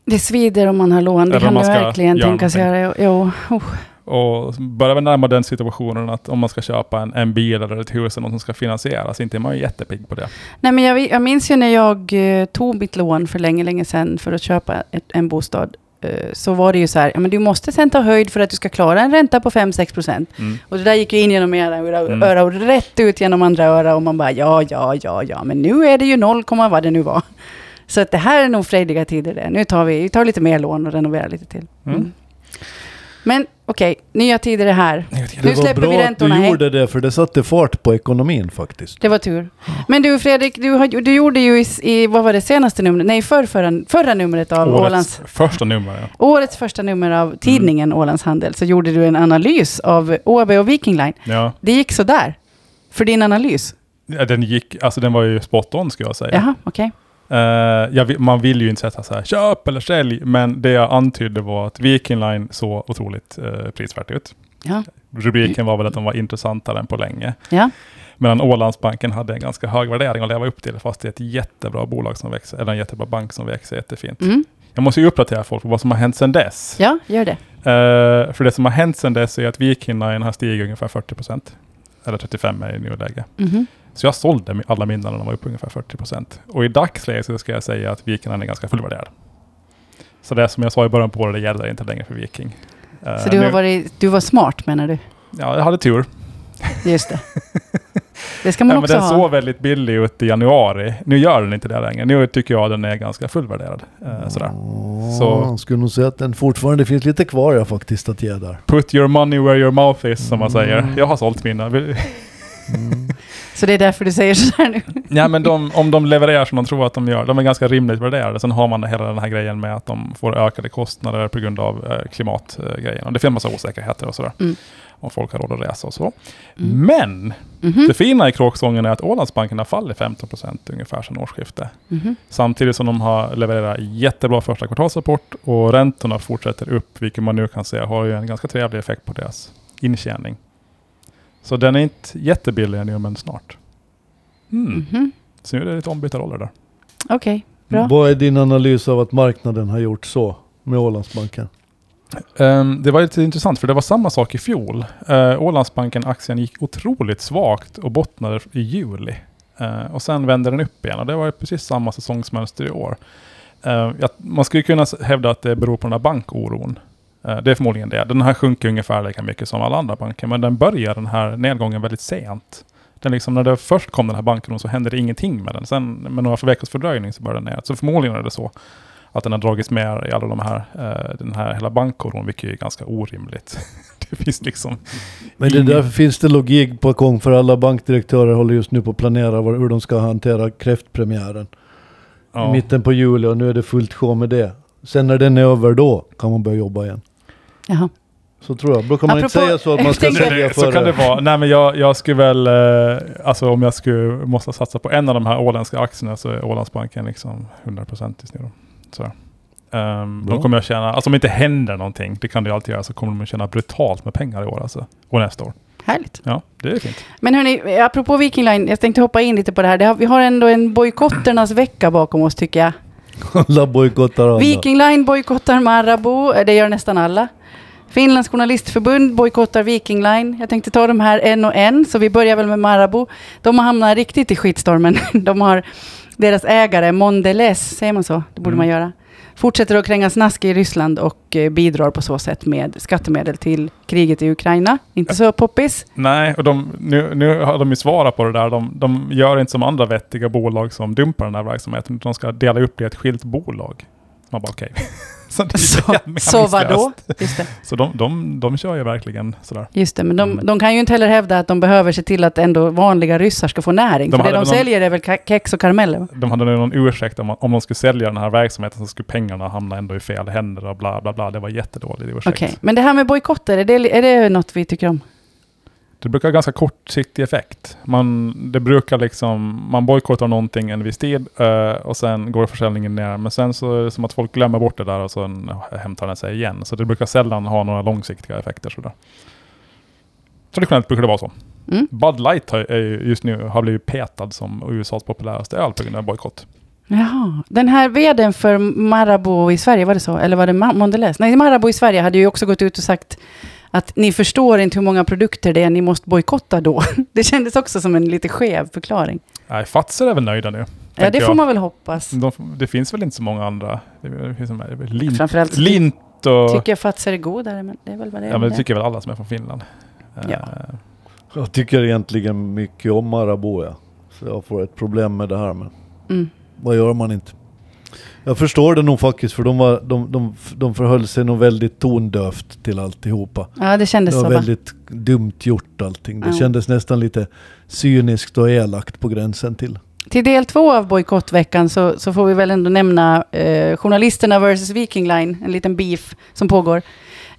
Speaker 1: Det svider om man har lån, det
Speaker 3: Eller om
Speaker 1: kan du
Speaker 3: man ska
Speaker 1: verkligen
Speaker 3: göra
Speaker 1: tänkas göra. Jo, oh.
Speaker 3: Och börjar vi närma den situationen att om man ska köpa en, en bil eller ett hus eller något som ska finansieras, inte är man ju jättepigg på det.
Speaker 1: Nej, men jag, jag minns ju när jag eh, tog mitt lån för länge, länge sedan för att köpa ett, en bostad. eh, Så var det ju så här, ja, men du måste sen ta höjd för att du ska klara en ränta på 5-6 procent.
Speaker 3: Mm.
Speaker 1: Och det där gick ju in genom ena öra-
Speaker 3: Mm.
Speaker 1: öra och rätt ut genom andra öra. Och man bara, ja, ja, ja, ja, men nu är det ju 0, vad det nu var. [laughs] Så att det här är nog frejdiga tider det. Nu tar vi, vi tar lite mer lån och renoverar lite till.
Speaker 3: Mm.
Speaker 1: Mm. Men okej, nya tider är här.
Speaker 2: Det
Speaker 1: Nu
Speaker 2: var
Speaker 1: släpper
Speaker 2: bra
Speaker 1: vi
Speaker 2: att
Speaker 1: räntorna,
Speaker 2: du
Speaker 1: hej.
Speaker 2: gjorde det för det satte fart på ekonomin faktiskt.
Speaker 1: Det var tur. Men du Fredrik, du, har, du gjorde ju i, i, vad var det senaste numret? Nej, för, förra, förra numret av
Speaker 3: Årets Mm.
Speaker 1: Ålands...
Speaker 3: första nummer, ja.
Speaker 1: Årets första nummer av tidningen Ålands Handel så gjorde du en analys av ÅB och Viking Line.
Speaker 3: ja.
Speaker 1: Det gick sådär. För din analys?
Speaker 3: Ja, Den gick, alltså den var ju spot on skulle jag säga.
Speaker 1: Jaha, okej.
Speaker 3: Eh, jag, vi- man vill ju inte sätta så här, köp eller sälj, men det jag antydde var att Viking Line såg otroligt eh, prisvärt ut.
Speaker 1: Ja.
Speaker 3: Rubriken var väl att de var intressantare än på länge.
Speaker 1: Ja.
Speaker 3: Medan Ålandsbanken hade en ganska hög värdering att leva upp till, fast det är ett jättebra bolag som växer, eller en jättebra bank som växer jättefint.
Speaker 1: Mm.
Speaker 3: Jag måste ju uppdatera folk på vad som har hänt sedan dess.
Speaker 1: Ja, gör det.
Speaker 3: Eh, för det som har hänt sedan dess är att Vikhinnan har stigit ungefär 40 procent. Eller 35 är det i nuläget.
Speaker 1: Mhm.
Speaker 3: Så jag sålde mi- alla mina när de var uppe ungefär 40 procent. Och i dagsläget så ska jag säga att Vikhinnan är ganska fullvärderad. Så det som jag sa i början på året, det gäller inte längre för Viking. Eh,
Speaker 1: Så du, har
Speaker 3: nu-
Speaker 1: varit, du var smart menar du?
Speaker 3: Ja, jag hade tur.
Speaker 1: Just det. Det ska man
Speaker 3: ja, men
Speaker 1: också
Speaker 3: den
Speaker 1: ha.
Speaker 3: såg väldigt billig ut i januari. Nu gör den inte det längre. Nu tycker jag den är ganska fullvärderad.
Speaker 2: Mm.
Speaker 3: Eh, sådär. Så-
Speaker 2: Ja, jag skulle nog säga att den fortfarande finns lite kvar jag faktiskt att ge där.
Speaker 3: Put your money where your mouth is, som man
Speaker 2: Mm.
Speaker 3: säger. Jag har sålt mina. Vill-
Speaker 2: Mm.
Speaker 1: Så det är därför du säger sådär nu?
Speaker 3: Nej, men de, om de levererar som de tror att de gör, de är ganska rimligt värderade. Sen har man hela den här grejen med att de får ökade kostnader på grund av eh, klimatgrejen. Och det finns en massa osäkerheter och sådär.
Speaker 1: Mm.
Speaker 3: Om folk har råd att resa och så.
Speaker 1: Mm.
Speaker 3: Men
Speaker 1: Mhm.
Speaker 3: det fina i kråksången är att Ålandsbanken har fallit 15% ungefär sedan årsskiftet.
Speaker 1: Mhm.
Speaker 3: Samtidigt som de har levererat jättebra första kvartalsrapport och räntorna fortsätter upp, vilket man nu kan se har ju en ganska trevlig effekt på deras intjäning. Så den är inte jättebillig ännu, men snart. Mm.
Speaker 1: Mhm.
Speaker 3: Så nu är det lite ombytta roller där.
Speaker 1: Okej, bra.
Speaker 2: Vad är din analys av att marknaden har gjort så med Ålandsbanken?
Speaker 3: Ehm, det var lite intressant, för det var samma sak i fjol. Uh, Ålandsbanken-aktien gick otroligt svagt och bottnade i juli. Eh, och sen vände den upp igen och det var ju precis samma säsongsmönster i år. Eh, jag, man skulle kunna s- hävda att det beror på den här bankoron. Eh, det är förmodligen det. Den här sjunker ungefär lika mycket som alla andra banker, men den börjar den här nedgången väldigt sent. Den liksom, när det först kom den här bankoron så hände det ingenting med den. Sen med några veckors fördröjning så började den ner. Så förmodligen är det så att den har dragits med i alla de här, eh, den här hela bankoron, vilket är ganska orimligt. [laughs] det finns liksom...
Speaker 2: Men det
Speaker 3: Ingen-
Speaker 2: där finns det logik på gång för alla bankdirektörer håller just nu på att planera var- hur de ska hantera kräftpremiären. I
Speaker 3: Ja.
Speaker 2: mitten på juli och nu är det fullt sjå med det. Sen när den är över då kan man börja jobba igen.
Speaker 1: Jaha.
Speaker 2: Så tror jag. Då kan man inte
Speaker 1: Apropå-
Speaker 2: säga så att man ska
Speaker 1: Jag tänkte-
Speaker 2: sälja
Speaker 3: Så kan det
Speaker 2: före.
Speaker 3: vara. Nej men jag, jag skulle väl, eh, alltså om jag skulle, måste satsa på en av de här åländska aktierna så är Ålandsbanken liksom 100% just nu då. Så. Ehm,
Speaker 2: Bra.
Speaker 3: de kommer jag tjäna, alltså om det inte händer någonting, det kan det ju alltid göra, så kommer de att tjäna brutalt med pengar i år alltså. Och nästa år.
Speaker 1: Härligt.
Speaker 3: Ja, det är fint.
Speaker 1: Men hörni, apropå Viking Line, jag tänkte hoppa in lite på det här. Det har, vi har ändå en bojkotternas vecka bakom oss tycker jag.
Speaker 2: Alla bojkottar alla.
Speaker 1: Viking Line bojkottar Marabou, eh, det gör nästan alla. Finlands journalistförbund bojkottar Viking Line. Jag tänkte ta de här en och en, så vi börjar väl med Marabou. De har hamnat riktigt i skitstormen. [laughs] De har deras ägare, Mondelez, säger man så? Det borde
Speaker 3: Mm.
Speaker 1: man göra. Fortsätter att kränga snask i Ryssland och eh, bidrar på så sätt med skattemedel till kriget i Ukraina. Inte så
Speaker 3: [laughs]
Speaker 1: poppis.
Speaker 3: Nej, och de, nu, nu har de ju svarat på det där. De, de gör inte som andra vettiga bolag som dumpar den här verksamheten, utan de ska dela upp det i ett skilt bolag. Man bara
Speaker 1: [laughs]
Speaker 3: okej. så det är
Speaker 1: Så,
Speaker 3: jävla
Speaker 1: så
Speaker 3: [laughs]
Speaker 1: vadå?
Speaker 3: meningslöst.
Speaker 1: Just det.
Speaker 3: Så de, de, de kör ju verkligen sådär.
Speaker 1: Just det, men de,
Speaker 3: Mm.
Speaker 1: de kan ju inte heller hävda att de behöver se till att ändå vanliga ryssar ska få näring.
Speaker 3: De
Speaker 1: för det
Speaker 3: hade
Speaker 1: de
Speaker 3: väl någon-
Speaker 1: säljer är väl ka- kex och karameller? va?
Speaker 3: De hade nog någon ursäkt om, om de skulle sälja den här verksamheten så skulle pengarna hamna ändå i fel händer och bla bla bla. Det var jättedålig ursäkt.
Speaker 1: Okej, men det här med bojkotter, är det, är det något vi tycker om?
Speaker 3: Det brukar ha ganska kortsiktig effekt. Man, det brukar liksom, man bojkottar någonting en viss tid eh, och sen går försäljningen ner. Men sen så är det som att folk glömmer bort det där och sen hämtar den sig igen. Så det brukar sällan ha några långsiktiga effekter. Sådär. Traditionellt brukar det vara så.
Speaker 1: Mm?
Speaker 3: Bud Light har, är ju just nu har blivit petad som USAs populäraste öl på grund av bojkott.
Speaker 1: Jaha, den här vdn för Marabou i Sverige, var det så? Eller var det Ma- Mondelez? Nej, Marabou i Sverige hade ju också gått ut och sagt att ni förstår inte hur många produkter det är ni måste bojkotta då. [laughs] Det kändes också som en lite skev förklaring.
Speaker 3: Nej, Fazer är väl nöjda nu.
Speaker 1: Ja,
Speaker 3: tänker
Speaker 1: det får
Speaker 3: jag.
Speaker 1: man väl hoppas.
Speaker 3: De, det finns väl inte så många andra. Det finns som lint,
Speaker 1: Framförallt så
Speaker 3: lint och...
Speaker 1: tycker jag Fazer är godare, men det är väl vad det är.
Speaker 3: ja, men
Speaker 1: med
Speaker 3: det tycker väl alla som är från Finland.
Speaker 1: Ja.
Speaker 3: Eh,
Speaker 2: Jag tycker egentligen mycket om Marabou ja. Så jag får ett problem med det här men
Speaker 1: Mm.
Speaker 2: vad gör man inte? Jag förstår det nog faktiskt för de, var, de, de, de förhöll sig nog väldigt tondövt till alltihopa.
Speaker 1: ja, det
Speaker 2: Det
Speaker 1: kändes så.
Speaker 2: var
Speaker 1: va?
Speaker 2: väldigt dumt gjort allting. Det
Speaker 1: Ja.
Speaker 2: kändes nästan lite cyniskt och elakt på gränsen till.
Speaker 1: Till del två av bojkottveckan så, så får vi väl ändå nämna eh, journalisterna versus Viking Line, en liten beef som pågår.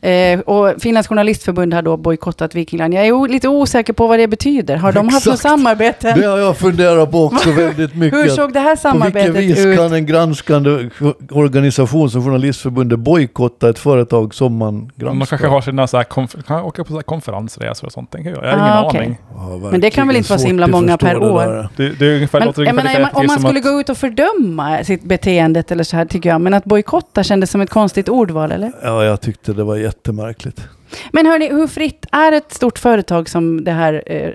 Speaker 1: Eh, och Finlands journalistförbund har då bojkottat Viking Line. Jag är o- lite osäker på vad det betyder. Har de haft något
Speaker 2: Exakt.
Speaker 1: samarbete?
Speaker 2: Det har jag funderat på
Speaker 1: [laughs]
Speaker 2: också väldigt mycket.
Speaker 1: Hur såg det här
Speaker 2: På vilket
Speaker 1: samarbetet
Speaker 2: vis
Speaker 1: ut?
Speaker 2: kan en granskande organisation som Journalistförbundet bojkotta ett företag som man granskar?
Speaker 3: De kanske har sina så här konf- kan jag åka på så här konferensresor och sånt. tänker Jag Jag har
Speaker 1: Ah,
Speaker 3: ingen
Speaker 1: okej.
Speaker 3: aning.
Speaker 2: Ja,
Speaker 1: Men det kan väl inte vara så
Speaker 2: verkligen
Speaker 1: himla
Speaker 2: svårt att
Speaker 1: många
Speaker 2: förstå
Speaker 1: per
Speaker 2: det
Speaker 1: år.
Speaker 2: där.
Speaker 3: Det, det är ungefär,
Speaker 1: Men,
Speaker 3: låter
Speaker 1: jag
Speaker 3: ungefär
Speaker 1: menar,
Speaker 3: lika
Speaker 1: om man- om
Speaker 3: effektivt
Speaker 1: man
Speaker 3: som
Speaker 1: skulle
Speaker 3: att-
Speaker 1: gå ut och fördöma sitt beteendet eller så här tycker jag. Men att bojkotta kändes som ett konstigt ordval, eller?
Speaker 2: Ja, jag tyckte det var jättemärkligt.
Speaker 1: Men hörni, hur fritt är ett stort företag som det här eh,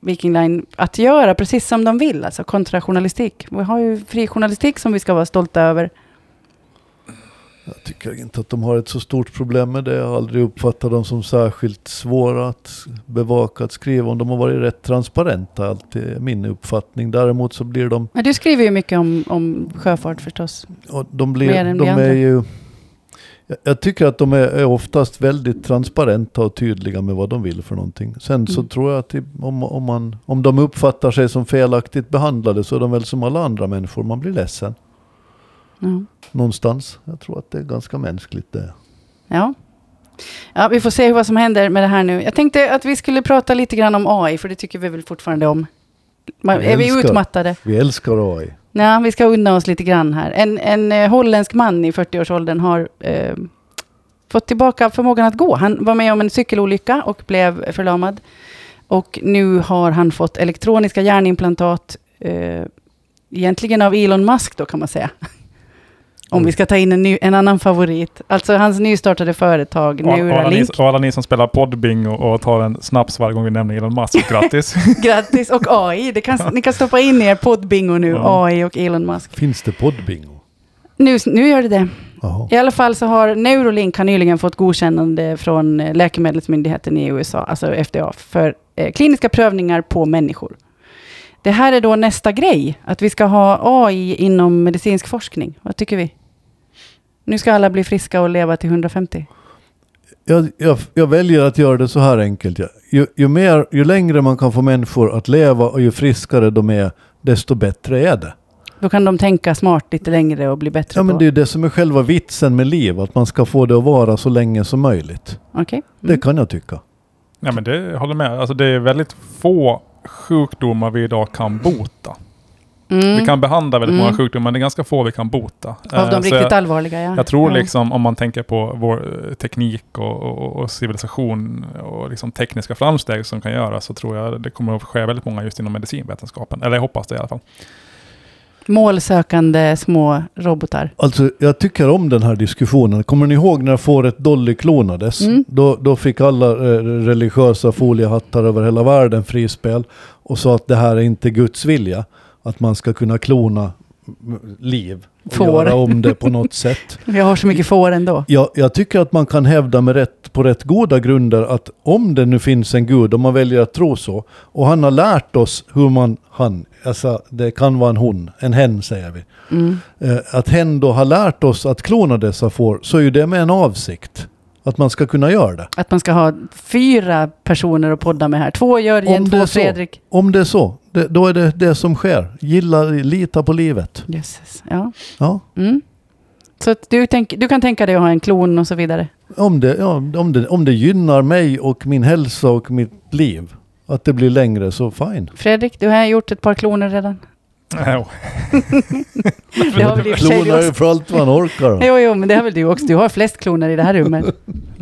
Speaker 1: Viking Line att göra precis som de vill, alltså kontra journalistik? Vi har ju fri journalistik som vi ska vara stolta över.
Speaker 2: Jag tycker inte att de har ett så stort problem med det. Jag har aldrig uppfattat dem som särskilt svåra att bevaka, att skriva om. De har varit rätt transparenta, alltid är min uppfattning. Däremot så blir de...
Speaker 1: Men du skriver ju mycket om, om sjöfart förstås.
Speaker 2: Och de
Speaker 1: Mer
Speaker 2: blir,
Speaker 1: än
Speaker 2: de
Speaker 1: vi andra.
Speaker 2: är ju, jag, jag tycker att de är, är oftast väldigt transparenta och tydliga med vad de vill för någonting. Sen så
Speaker 1: Mm.
Speaker 2: tror jag att det- om, om, man, om de uppfattar sig som felaktigt behandlade så är de väl som alla andra människor. Man blir ledsen
Speaker 1: Ja.
Speaker 2: någonstans. Jag tror att det är ganska mänskligt det.
Speaker 1: Ja. ja, vi får se vad som händer med det här nu. Jag tänkte att vi skulle prata lite grann om AI, för det tycker vi väl fortfarande om. Man,
Speaker 2: Jag
Speaker 1: är vi
Speaker 2: älskar.
Speaker 1: utmattade?
Speaker 2: Vi älskar AI.
Speaker 1: Nej, vi ska unna oss lite grann här. En, en eh, holländsk man i 40-årsåldern har eh, fått tillbaka förmågan att gå. Han var med om en cykelolycka och blev förlamad. Och nu har han fått elektroniska hjärnimplantat, eh, egentligen av Elon Musk då kan man säga. Om vi ska ta in en, ny, en annan favorit. Alltså hans nystartade företag,
Speaker 3: Och- och alla, ni,
Speaker 1: Neuralink.
Speaker 3: och alla ni som spelar poddbingo och tar en snaps varje gång vi nämner
Speaker 1: [laughs]
Speaker 3: Elon Musk, grattis!
Speaker 1: Grattis! Och AI, det kan, ni kan stoppa in i er poddbingo nu,
Speaker 3: Ja.
Speaker 1: AI och Elon Musk.
Speaker 2: Finns det poddbingo?
Speaker 1: Nu, nu gör det det.
Speaker 2: Jaha.
Speaker 1: I alla fall så har Neuralink har nyligen fått godkännande från eh, läkemedelsmyndigheten i USA, alltså FDA, för eh, kliniska prövningar på människor. Det här är då nästa grej, att vi ska ha AI inom medicinsk forskning. Vad tycker vi? Nu ska alla bli friska och leva till 150.
Speaker 2: Jag, jag, jag väljer att göra det så här enkelt. Jag- Ju, ju, mer, ju längre man kan få människor att leva och ju friskare de är, desto bättre är det.
Speaker 1: Då kan de tänka smart lite längre och bli bättre
Speaker 2: Ja, men
Speaker 1: på...
Speaker 2: det är ju det som är själva vitsen med liv, att man ska få det att vara så länge som möjligt.
Speaker 1: Okej.
Speaker 2: Det
Speaker 1: Mm.
Speaker 2: kan jag tycka.
Speaker 3: Nej men det håller med. Alltså det är väldigt få sjukdomar vi idag kan bota.
Speaker 1: Mm.
Speaker 3: Vi kan behandla väldigt många
Speaker 1: Mm.
Speaker 3: sjukdomar, men det är ganska få vi kan bota.
Speaker 1: Av
Speaker 3: Eh, så
Speaker 1: de riktigt
Speaker 3: jag,
Speaker 1: allvarliga, ja.
Speaker 3: jag tror
Speaker 1: ja.
Speaker 3: liksom, om man tänker på vår eh, teknik och, och, och civilisation och liksom tekniska framsteg som kan göras, så tror jag det kommer att ske väldigt många just inom medicinvetenskapen. Eller jag hoppas det i alla fall.
Speaker 1: Målsökande små robotar.
Speaker 2: Alltså, jag tycker om den här diskussionen. Kommer ni ihåg när fåret Dolly klonades?
Speaker 1: Mm.
Speaker 2: Då, då fick alla eh, religiösa foliehattar över hela världen frispel och sa att det här är inte Guds vilja. Att man ska kunna klona mm, liv och
Speaker 1: Får.
Speaker 2: göra om det
Speaker 1: [laughs]
Speaker 2: på något sätt.
Speaker 1: Vi har så mycket får ändå.
Speaker 2: Jag, jag tycker att man kan hävda med rätt, på rätt goda grunder att om det nu finns en gud, om man väljer att tro så, och han har lärt oss hur man, han, alltså det kan vara en hon, en hen säger vi,
Speaker 1: Mm.
Speaker 2: eh, att hen då har lärt oss att klona dessa får, så är ju det med en avsikt. Att man ska kunna göra det.
Speaker 1: Att man ska ha fyra personer att podda med här. Två Jörgen,
Speaker 2: Om det
Speaker 1: två
Speaker 2: är så.
Speaker 1: Fredrik.
Speaker 2: Om det är så, det, då är det det som sker. Gilla, lita på livet.
Speaker 1: Jösses, ja.
Speaker 2: Ja.
Speaker 1: Mm. Så att du, tänk, du kan tänka dig att ha en klon och så vidare.
Speaker 2: Om, det, ja, om, det, om det gynnar mig och min hälsa och mitt liv, att det blir längre,
Speaker 1: [laughs]
Speaker 2: så fine.
Speaker 1: Fredrik, du har gjort ett par kloner redan.
Speaker 2: Mm.
Speaker 3: [laughs]
Speaker 1: [laughs]
Speaker 3: Eh,
Speaker 1: Det har väl i och för sig du
Speaker 2: Klonar ju
Speaker 1: också.
Speaker 2: för allt man
Speaker 1: [laughs]
Speaker 2: orkar.
Speaker 1: Jo, jo, men det har väl du också. Du har flest kloner i det här
Speaker 2: [laughs]
Speaker 1: rummet.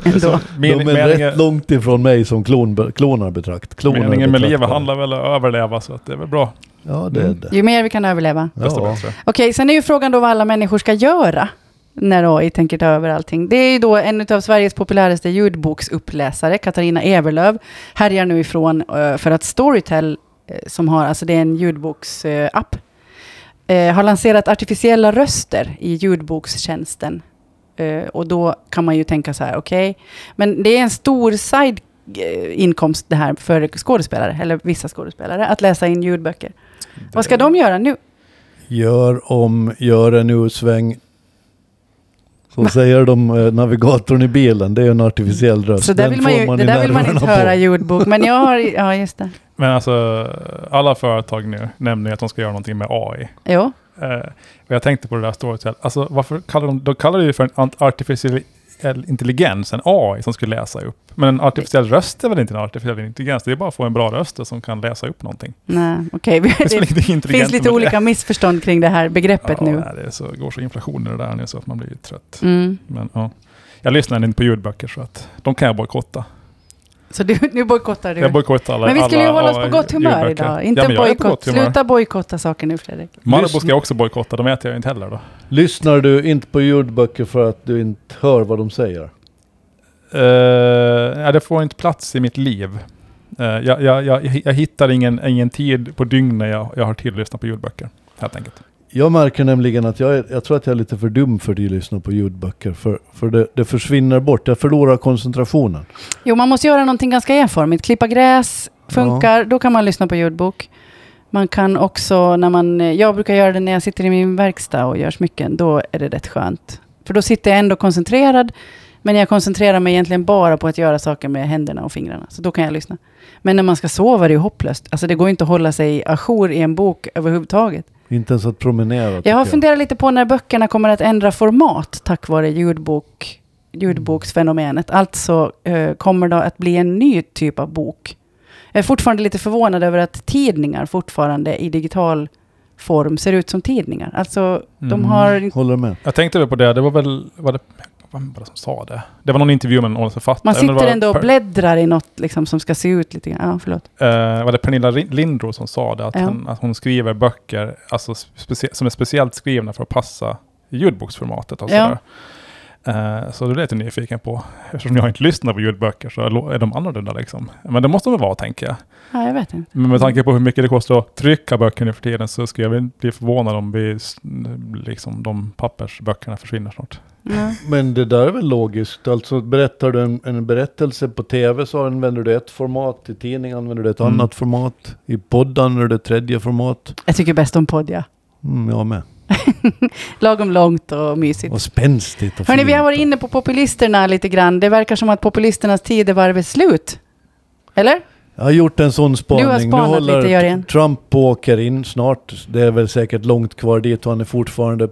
Speaker 1: Ändå.
Speaker 2: De
Speaker 3: Mening,
Speaker 2: är
Speaker 3: meningen,
Speaker 2: rätt långt ifrån mig som klon, klonar betrakt. Klonar
Speaker 3: meningen med livet
Speaker 2: betraktar.
Speaker 3: handlar väl om att Mm. överleva, så att det är väl bra.
Speaker 2: Ja, det är det.
Speaker 1: Ju mer vi kan överleva.
Speaker 3: Desto
Speaker 2: Ja.
Speaker 3: bättre.
Speaker 1: Okej, sen är ju frågan då vad alla människor ska göra när AI tänker ta över allting. Det är ju då en av Sveriges populäraste ljudboksuppläsare, Katarina Ewerlöf, härjar nu ifrån eh, för att Storytel, eh, som har, alltså det är en ljudboksapp, eh, har lanserat artificiella röster i ljudbokstjänsten. Eh, Och då kan man ju tänka så här, okej, men det är en stor side eh, inkomst det här för skådespelare, eller vissa skådespelare, att läsa in ljudböcker. Vad ska de göra nu?
Speaker 2: Gör om, gör en U-sväng. Så säger de eh, navigatorn i bilen, det är en artificiell röst.
Speaker 1: Så där
Speaker 2: Den
Speaker 1: vill man
Speaker 2: får
Speaker 1: ju,
Speaker 2: man
Speaker 1: det
Speaker 2: i
Speaker 1: där vill man
Speaker 2: nerverna
Speaker 1: inte
Speaker 2: på.
Speaker 1: höra ljudbok. Men jag har, ja just det.
Speaker 3: Men alltså, alla företag nu nämner ju att de ska göra någonting med AI.
Speaker 1: Jo.
Speaker 3: Eh, och jag tänkte på det där Storytel. Alltså, varför kallar de, de kallar det ju för en ant- artificiell artificiell intelligens, en AI, som skulle läsa upp. Men en artificiell röst är väl inte en artificiell intelligens? Det är bara att få en bra röst som kan läsa upp någonting.
Speaker 1: Nej,
Speaker 3: [laughs]
Speaker 1: okej.
Speaker 3: Det, är
Speaker 1: Det
Speaker 3: väl inte intelligent
Speaker 1: finns lite
Speaker 3: med det.
Speaker 1: olika missförstånd kring det här begreppet
Speaker 3: ja,
Speaker 1: nu.
Speaker 3: Nej, det är så, går så inflation i det där nu så att man blir ju trött.
Speaker 1: Mm.
Speaker 3: Men, ja. Jag lyssnar inte på ljudböcker så att de kan jag bojkotta.
Speaker 1: Så du, nu bojkottar du.
Speaker 3: Jag bojkottar alla
Speaker 1: men vi skulle ju
Speaker 3: alla
Speaker 1: hålla oss på
Speaker 3: AI
Speaker 1: gott humör
Speaker 3: ljudböcker.
Speaker 1: idag.
Speaker 3: ja,
Speaker 1: Inte
Speaker 3: men jag är på
Speaker 1: bojkott.
Speaker 3: gott humör.
Speaker 1: Sluta bojkotta saker nu, Fredrik.
Speaker 3: Marabou
Speaker 2: Lyssna.
Speaker 3: ska jag också bojkotta, de äter jag inte heller då.
Speaker 2: Lyssnar du inte på ljudböcker för att du inte hör vad de säger?
Speaker 3: Uh, Eh, ja, det får inte plats i mitt liv. Eh, jag, jag, jag, jag hittar ingen, ingen tid på dygnet jag, jag har till att lyssna på ljudböcker. Helt enkelt.
Speaker 2: Jag märker nämligen att jag, är, jag tror att jag är lite för dum för att lyssna på ljudböcker. För, för det, det försvinner bort, jag förlorar koncentrationen.
Speaker 1: Jo, man måste göra någonting ganska enformigt. Klippa gräs funkar, då kan man lyssna på ljudbok. Man kan också, när man, jag brukar göra det när jag sitter i min verkstad och gör smycken, då är det rätt skönt. För då sitter jag ändå koncentrerad, men jag koncentrerar mig egentligen bara på att göra saker med händerna och fingrarna. Så då kan jag lyssna. Men när man ska sova det är det ju hopplöst. Alltså det går ju inte att hålla sig ajour i en bok överhuvudtaget.
Speaker 2: Inte ens att promenera. tycker
Speaker 1: Jag har funderat lite på när böckerna kommer att ändra format tack vare ljudbok,
Speaker 3: Mm.
Speaker 1: ljudboksfenomenet. Alltså eh, kommer det att bli en ny typ av bok. Jag är fortfarande lite förvånad över att tidningar fortfarande i digital form ser ut som tidningar. Alltså de
Speaker 3: Mm.
Speaker 1: har...
Speaker 2: Håller med.
Speaker 3: Jag tänkte väl på det, det var väl... Var det, vem var det som sa det? Det var någon intervju med någon författare.
Speaker 1: Man
Speaker 3: Undrar
Speaker 1: sitter
Speaker 3: var-
Speaker 1: ändå och
Speaker 3: Per-
Speaker 1: bläddrar i något liksom, som ska se ut lite grann. Ja, förlåt.
Speaker 3: Eh, var det Pernilla Ri- Lindro som sa det, att,
Speaker 1: Ja.
Speaker 3: hon, att hon skriver böcker alltså specie- som är speciellt skrivna för att passa ljudboksformatet. Och
Speaker 1: Ja.
Speaker 3: sådär. Eh, så det är jag lite nyfiken på. Eftersom jag inte lyssnar på ljudböcker så lo- är de annorlunda liksom. Men det måste de väl vara, tänker jag.
Speaker 1: Ja, jag vet inte.
Speaker 3: Men med tanke på hur mycket det kostar att trycka böcker nu för tiden så skulle jag väl bli förvånad om vi, s- liksom, de pappersböckerna försvinner snart.
Speaker 1: Ja.
Speaker 2: Men det där är väl logiskt. Alltså berättar du en, en berättelse på tv så använder du ett format. I tidning använder du ett
Speaker 3: Mm.
Speaker 2: annat format. I podd använder du ett tredje format.
Speaker 1: Jag tycker bäst om podd, ja.
Speaker 2: Mm, jag med.
Speaker 1: Lagom långt och mysigt.
Speaker 2: Och spänstigt och
Speaker 1: Hörni, vi har
Speaker 2: fint
Speaker 1: varit
Speaker 2: och-
Speaker 1: inne på populisterna lite grann. Det verkar som att populisternas tidevarv är slut. Eller?
Speaker 2: Jag har gjort en sån spaning.
Speaker 1: Du har spanat
Speaker 2: nu håller
Speaker 1: lite, Jörgen.
Speaker 2: Trump på åker in snart. Det är väl säkert långt kvar dit och han är fortfarande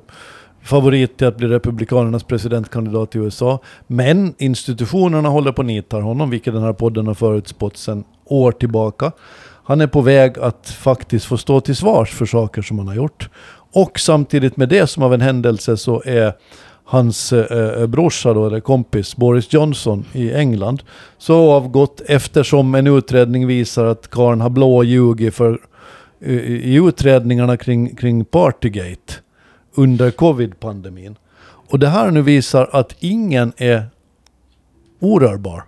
Speaker 2: favorit till att bli Republikanernas presidentkandidat i USA. Men institutionerna håller på och nitar honom, vilket den här podden har förutspått sedan år tillbaka. Han är på väg att faktiskt få stå till svars för saker som han har gjort. Och samtidigt med det, som av en händelse, så är hans eh, brorsa då, eller kompis, Boris Johnson i England, så avgått eftersom en utredning visar att karln har blåljugit för eh, i utredningarna kring, kring Partygate under covid-pandemin. Och det här nu visar att ingen är orörbar.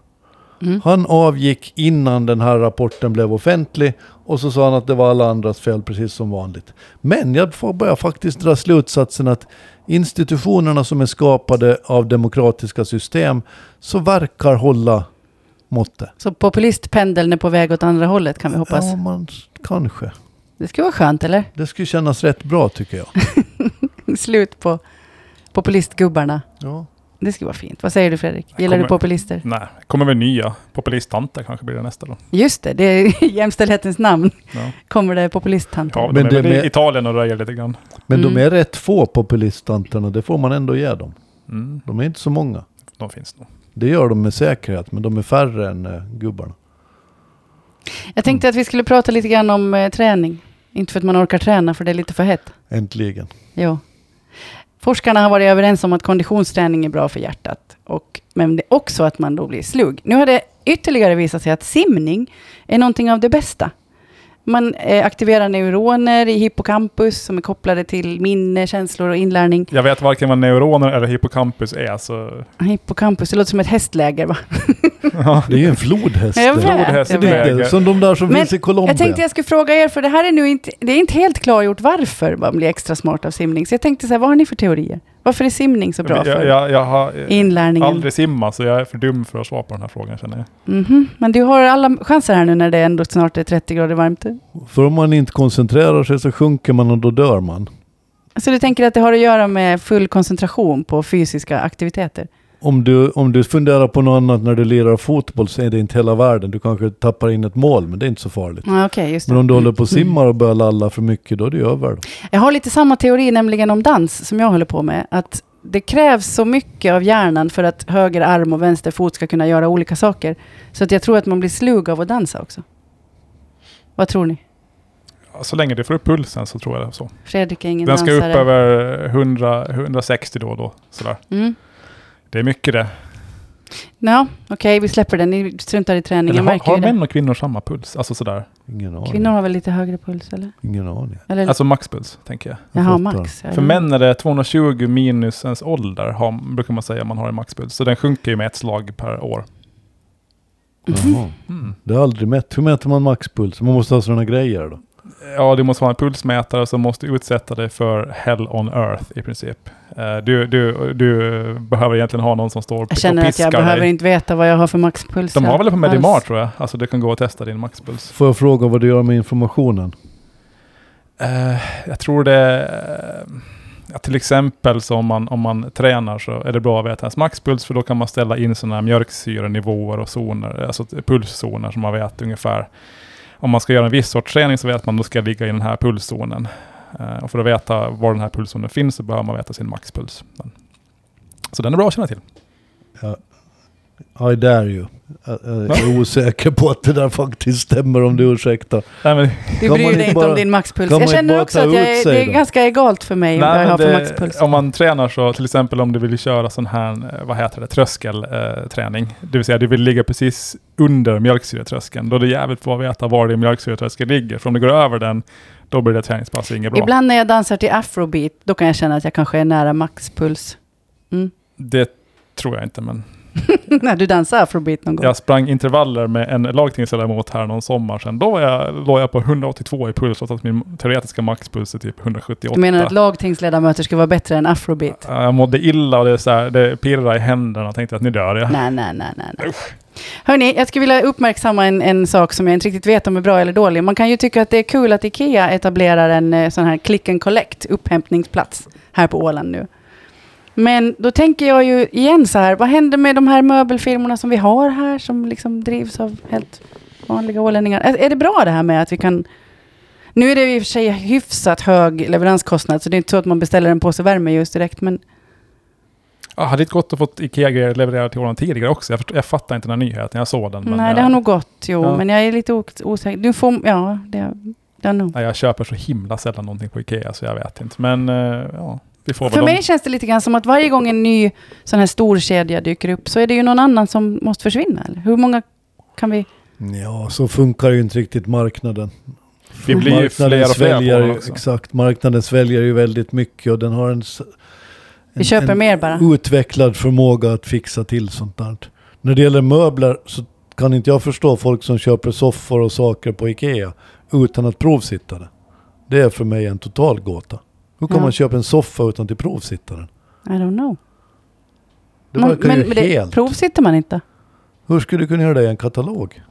Speaker 1: Mm.
Speaker 2: Han avgick innan den här rapporten blev offentlig och så sa han att det var alla andras fel precis som vanligt. Men jag får börja faktiskt dra slutsatsen att institutionerna som är skapade av demokratiska system så verkar hålla måttet.
Speaker 1: Så populistpendeln är på väg åt andra hållet kan vi hoppas.
Speaker 2: Ja, man, kanske.
Speaker 1: Det skulle vara skönt eller? [laughs]
Speaker 2: Det skulle kännas rätt bra tycker jag.
Speaker 1: Slut på populistgubbarna.
Speaker 2: Ja.
Speaker 1: Det skulle vara fint. Vad säger du Fredrik?
Speaker 3: Jag
Speaker 1: Gillar du
Speaker 3: kommer-
Speaker 1: populister?
Speaker 3: Nej, det kommer väl nya populisttanter kanske blir det nästa då.
Speaker 1: Just det, det är [laughs] i jämställdhetens namn.
Speaker 3: Ja.
Speaker 1: Kommer det populisttanter?
Speaker 3: Ja,
Speaker 2: Men
Speaker 3: men de
Speaker 2: det
Speaker 3: är väl
Speaker 2: med-
Speaker 3: i Italien och röjer lite grann.
Speaker 2: Men de
Speaker 1: Mm.
Speaker 2: är rätt få populisttanterna, det får man ändå ge dem.
Speaker 3: Mm,
Speaker 2: De är inte så många.
Speaker 3: de finns nog.
Speaker 2: Det gör de med säkerhet, men de är färre än eh, gubbarna.
Speaker 1: Jag tänkte att vi skulle prata lite grann om eh, träning. Inte för att man orkar träna för det är lite för hett.
Speaker 2: Äntligen.
Speaker 1: Jo. Forskarna har varit överens om att konditionsträning är bra för hjärtat. Och, men det är också att man då blir slug. Nu har det ytterligare visat sig att simning är någonting av det bästa. Man eh, aktiverar neuroner i hippocampus som är kopplade till minne, känslor och inlärning.
Speaker 3: Jag vet varken vad neuroner eller hippocampus är, så...
Speaker 1: Hippocampus, det låter som ett hästläger va?
Speaker 3: Ja.
Speaker 2: Det är ju
Speaker 1: [laughs]
Speaker 2: en flodhäst.
Speaker 1: Jag vet,
Speaker 2: det.
Speaker 3: flodhäst
Speaker 1: jag
Speaker 3: i
Speaker 2: Det
Speaker 1: vet.
Speaker 2: är det, som de där som
Speaker 1: Men
Speaker 2: finns i Colombia.
Speaker 1: Jag tänkte jag skulle fråga er, för det här är nu inte, det är inte helt klargjort varför man blir extra smart av simning. Så jag tänkte så här, vad har ni för teorier? Varför är simning så bra
Speaker 3: jag,
Speaker 1: för
Speaker 3: jag, jag har eh,
Speaker 1: inlärningen?
Speaker 3: aldrig simmat, så jag är för dum för att svara på den här frågan, känner jag.
Speaker 1: Mhm, Men du har alla chanser här nu när det ändå snart är 30 grader varmt.
Speaker 2: För om man inte koncentrerar sig så sjunker man och då dör man.
Speaker 1: Så du tänker att det har att göra med full koncentration på fysiska aktiviteter?
Speaker 2: Om du, om du funderar på något annat när du lirar fotboll så är det inte hela världen. Du kanske tappar in ett mål, men det är inte så farligt.
Speaker 1: Ja, okej, just det. Mm.
Speaker 2: Men om du håller på och simmar och börjar lalla för mycket, då är det över.
Speaker 1: Jag har lite samma teori nämligen om dans som jag håller på med. Att det krävs så mycket av hjärnan för att höger arm och vänster fot ska kunna göra olika saker. Så att jag tror att man blir slug av att dansa också. Vad tror ni?
Speaker 3: Ja, Så länge du får upp pulsen så tror jag det är så.
Speaker 1: Fredrik är ingen
Speaker 3: Den ska
Speaker 1: dansare.
Speaker 3: upp över 100, 160 då och då. Sådär.
Speaker 1: Mm.
Speaker 3: Det är mycket det.
Speaker 1: Ja, okej, vi släpper den. Ni struntar i träningen,
Speaker 3: Eller har,
Speaker 1: märker
Speaker 3: har
Speaker 1: ju det.
Speaker 3: män och kvinnor samma puls? Alltså sådär.
Speaker 2: Ingen
Speaker 1: Kvinnor
Speaker 2: aning.
Speaker 1: har väl lite högre puls, eller?
Speaker 2: Ingen aning.
Speaker 1: eller
Speaker 3: Alltså maxpuls, tänker jag.
Speaker 2: jag
Speaker 1: jaha,
Speaker 2: fattar.
Speaker 1: max. Ja, Mhm.
Speaker 3: För
Speaker 1: ja.
Speaker 3: män är det 220 minus ens ålder, har, brukar man säga, man har en maxpuls. Så den sjunker ju med ett slag per år.
Speaker 1: Mhm.
Speaker 2: Jaha.
Speaker 3: Mm.
Speaker 2: Det har jag aldrig mätt. Hur mäter man maxpuls? Man måste ha sådana grejer då.
Speaker 3: Ja, du måste ha en pulsmätare som måste utsätta dig för hell on earth i princip. Eh, Du, du, du behöver egentligen ha någon som står och
Speaker 1: Jag känner att
Speaker 3: piskar
Speaker 1: jag behöver
Speaker 3: dig.
Speaker 1: inte veta vad jag har för maxpuls.
Speaker 3: De har
Speaker 1: här
Speaker 3: väl det på
Speaker 1: alls.
Speaker 3: Medimar tror jag. Alltså du kan gå och testa din maxpuls.
Speaker 2: Får jag fråga vad du gör med informationen?
Speaker 3: Eh, jag tror det... eh, Ja, till exempel så om man, om man tränar så är det bra att veta ens maxpuls för då kan man ställa in sådana här mjölksyrenivåer och zoner, alltså t- pulszoner som man vet ungefär. Om man ska göra en viss sorts träning så vet man att man ska ligga i den här pulszonen. Eh, och för att veta var den här pulszonen finns så behöver man veta sin maxpuls. Men, så den är bra att känna till.
Speaker 2: I dare you. Jag- Jag är osäker på att det där faktiskt stämmer om du ursäktar.
Speaker 3: Nej, men,
Speaker 1: Du
Speaker 2: Kan man
Speaker 1: bryr dig
Speaker 2: inte
Speaker 1: inte
Speaker 2: bara-
Speaker 1: om din maxpuls.
Speaker 2: kan man
Speaker 1: Jag
Speaker 2: inte
Speaker 1: känner
Speaker 2: bara
Speaker 1: också
Speaker 2: ta
Speaker 1: att jag
Speaker 2: ut
Speaker 1: är,
Speaker 2: sig
Speaker 1: det är
Speaker 2: då?
Speaker 1: ganska egalt för mig vad jag
Speaker 3: men
Speaker 1: har för
Speaker 3: det-
Speaker 1: maxpuls.
Speaker 3: Om man tränar så, till exempel om du vill köra sån här, eh, vad heter det, tröskelträning. Det vill säga du vill ligga precis under mjölksyretröskeln. Då är det jävligt bra att veta var din mjölksyretröskel ligger. För om du går över den, då blir det träningspass inget bra.
Speaker 1: Ibland när jag dansar till afrobeat, då kan jag känna att jag kanske är nära maxpuls. [laughs] Mm.
Speaker 3: Det tror jag inte, men
Speaker 1: när du dansar afrobeat någon gång.
Speaker 3: jag sprang intervaller med en lagtingsledamot här någon sommar sedan. Då var jag, låg jag på 182 i puls, trots att min teoretiska maxpuls är typ 178.
Speaker 1: Du menar att lagtingsledamöter ska vara bättre än afrobeat?
Speaker 3: jag mådde illa och det, är så här, det pirrade i händerna och tänkte att nu dör jag.
Speaker 1: Nej, nej, nej, nej. nej. Hörni, jag skulle vilja uppmärksamma en, en sak som jag inte riktigt vet om är bra eller dålig. Man kan ju tycka att det är kul att Ikea etablerar en eh, sån här click and collect upphämtningsplats här på Åland nu. Men då tänker jag ju igen så här, vad händer med de här möbelfirmorna som vi har här som liksom drivs av helt vanliga ålänningar? Är, är det bra det här med att vi kan... Nu är det i och för sig hyfsat hög leveranskostnad så det är inte så att man beställer en påse värme just direkt men
Speaker 3: Ja, hade inte gått att fått IKEA-grejer levererade till honom tidigare också. Jag, först- jag fattar inte den här nyheten, jag såg den. Men
Speaker 1: Nej,
Speaker 3: jag,
Speaker 1: det har nog gått, jo.
Speaker 3: Ja.
Speaker 1: Men jag är lite ok- osäker. Du får, ja, det, det har nog.
Speaker 3: nej, jag köper så himla sällan någonting på IKEA så jag vet inte. Men eh, ja, vi får
Speaker 1: För
Speaker 3: väl
Speaker 1: mig känns det lite grann som att varje gång en ny sån här stor kedja dyker upp så är det ju någon annan som måste försvinna. Eller? Hur många kan vi...
Speaker 2: Ja, så funkar ju inte riktigt marknaden.
Speaker 3: Vi blir ju fler och fler på
Speaker 2: sväljer
Speaker 3: den
Speaker 2: ju,
Speaker 3: också.
Speaker 2: Exakt, marknaden sväljer ju väldigt mycket och den har en, s-
Speaker 1: Vi köper mer bara.
Speaker 2: utvecklad förmåga att fixa till sånt där. När det gäller möbler så kan inte jag förstå folk som köper soffor och saker på Ikea utan att provsitta det. Det är för mig en total gåta. Hur kan
Speaker 1: Ja.
Speaker 2: man köpa en soffa utan att provsitta den?
Speaker 1: I don't know.
Speaker 2: Det
Speaker 1: Man-
Speaker 2: verkar ju
Speaker 1: men det-
Speaker 2: helt...
Speaker 1: Provsitter man inte.
Speaker 2: Hur skulle du kunna göra det i en katalog?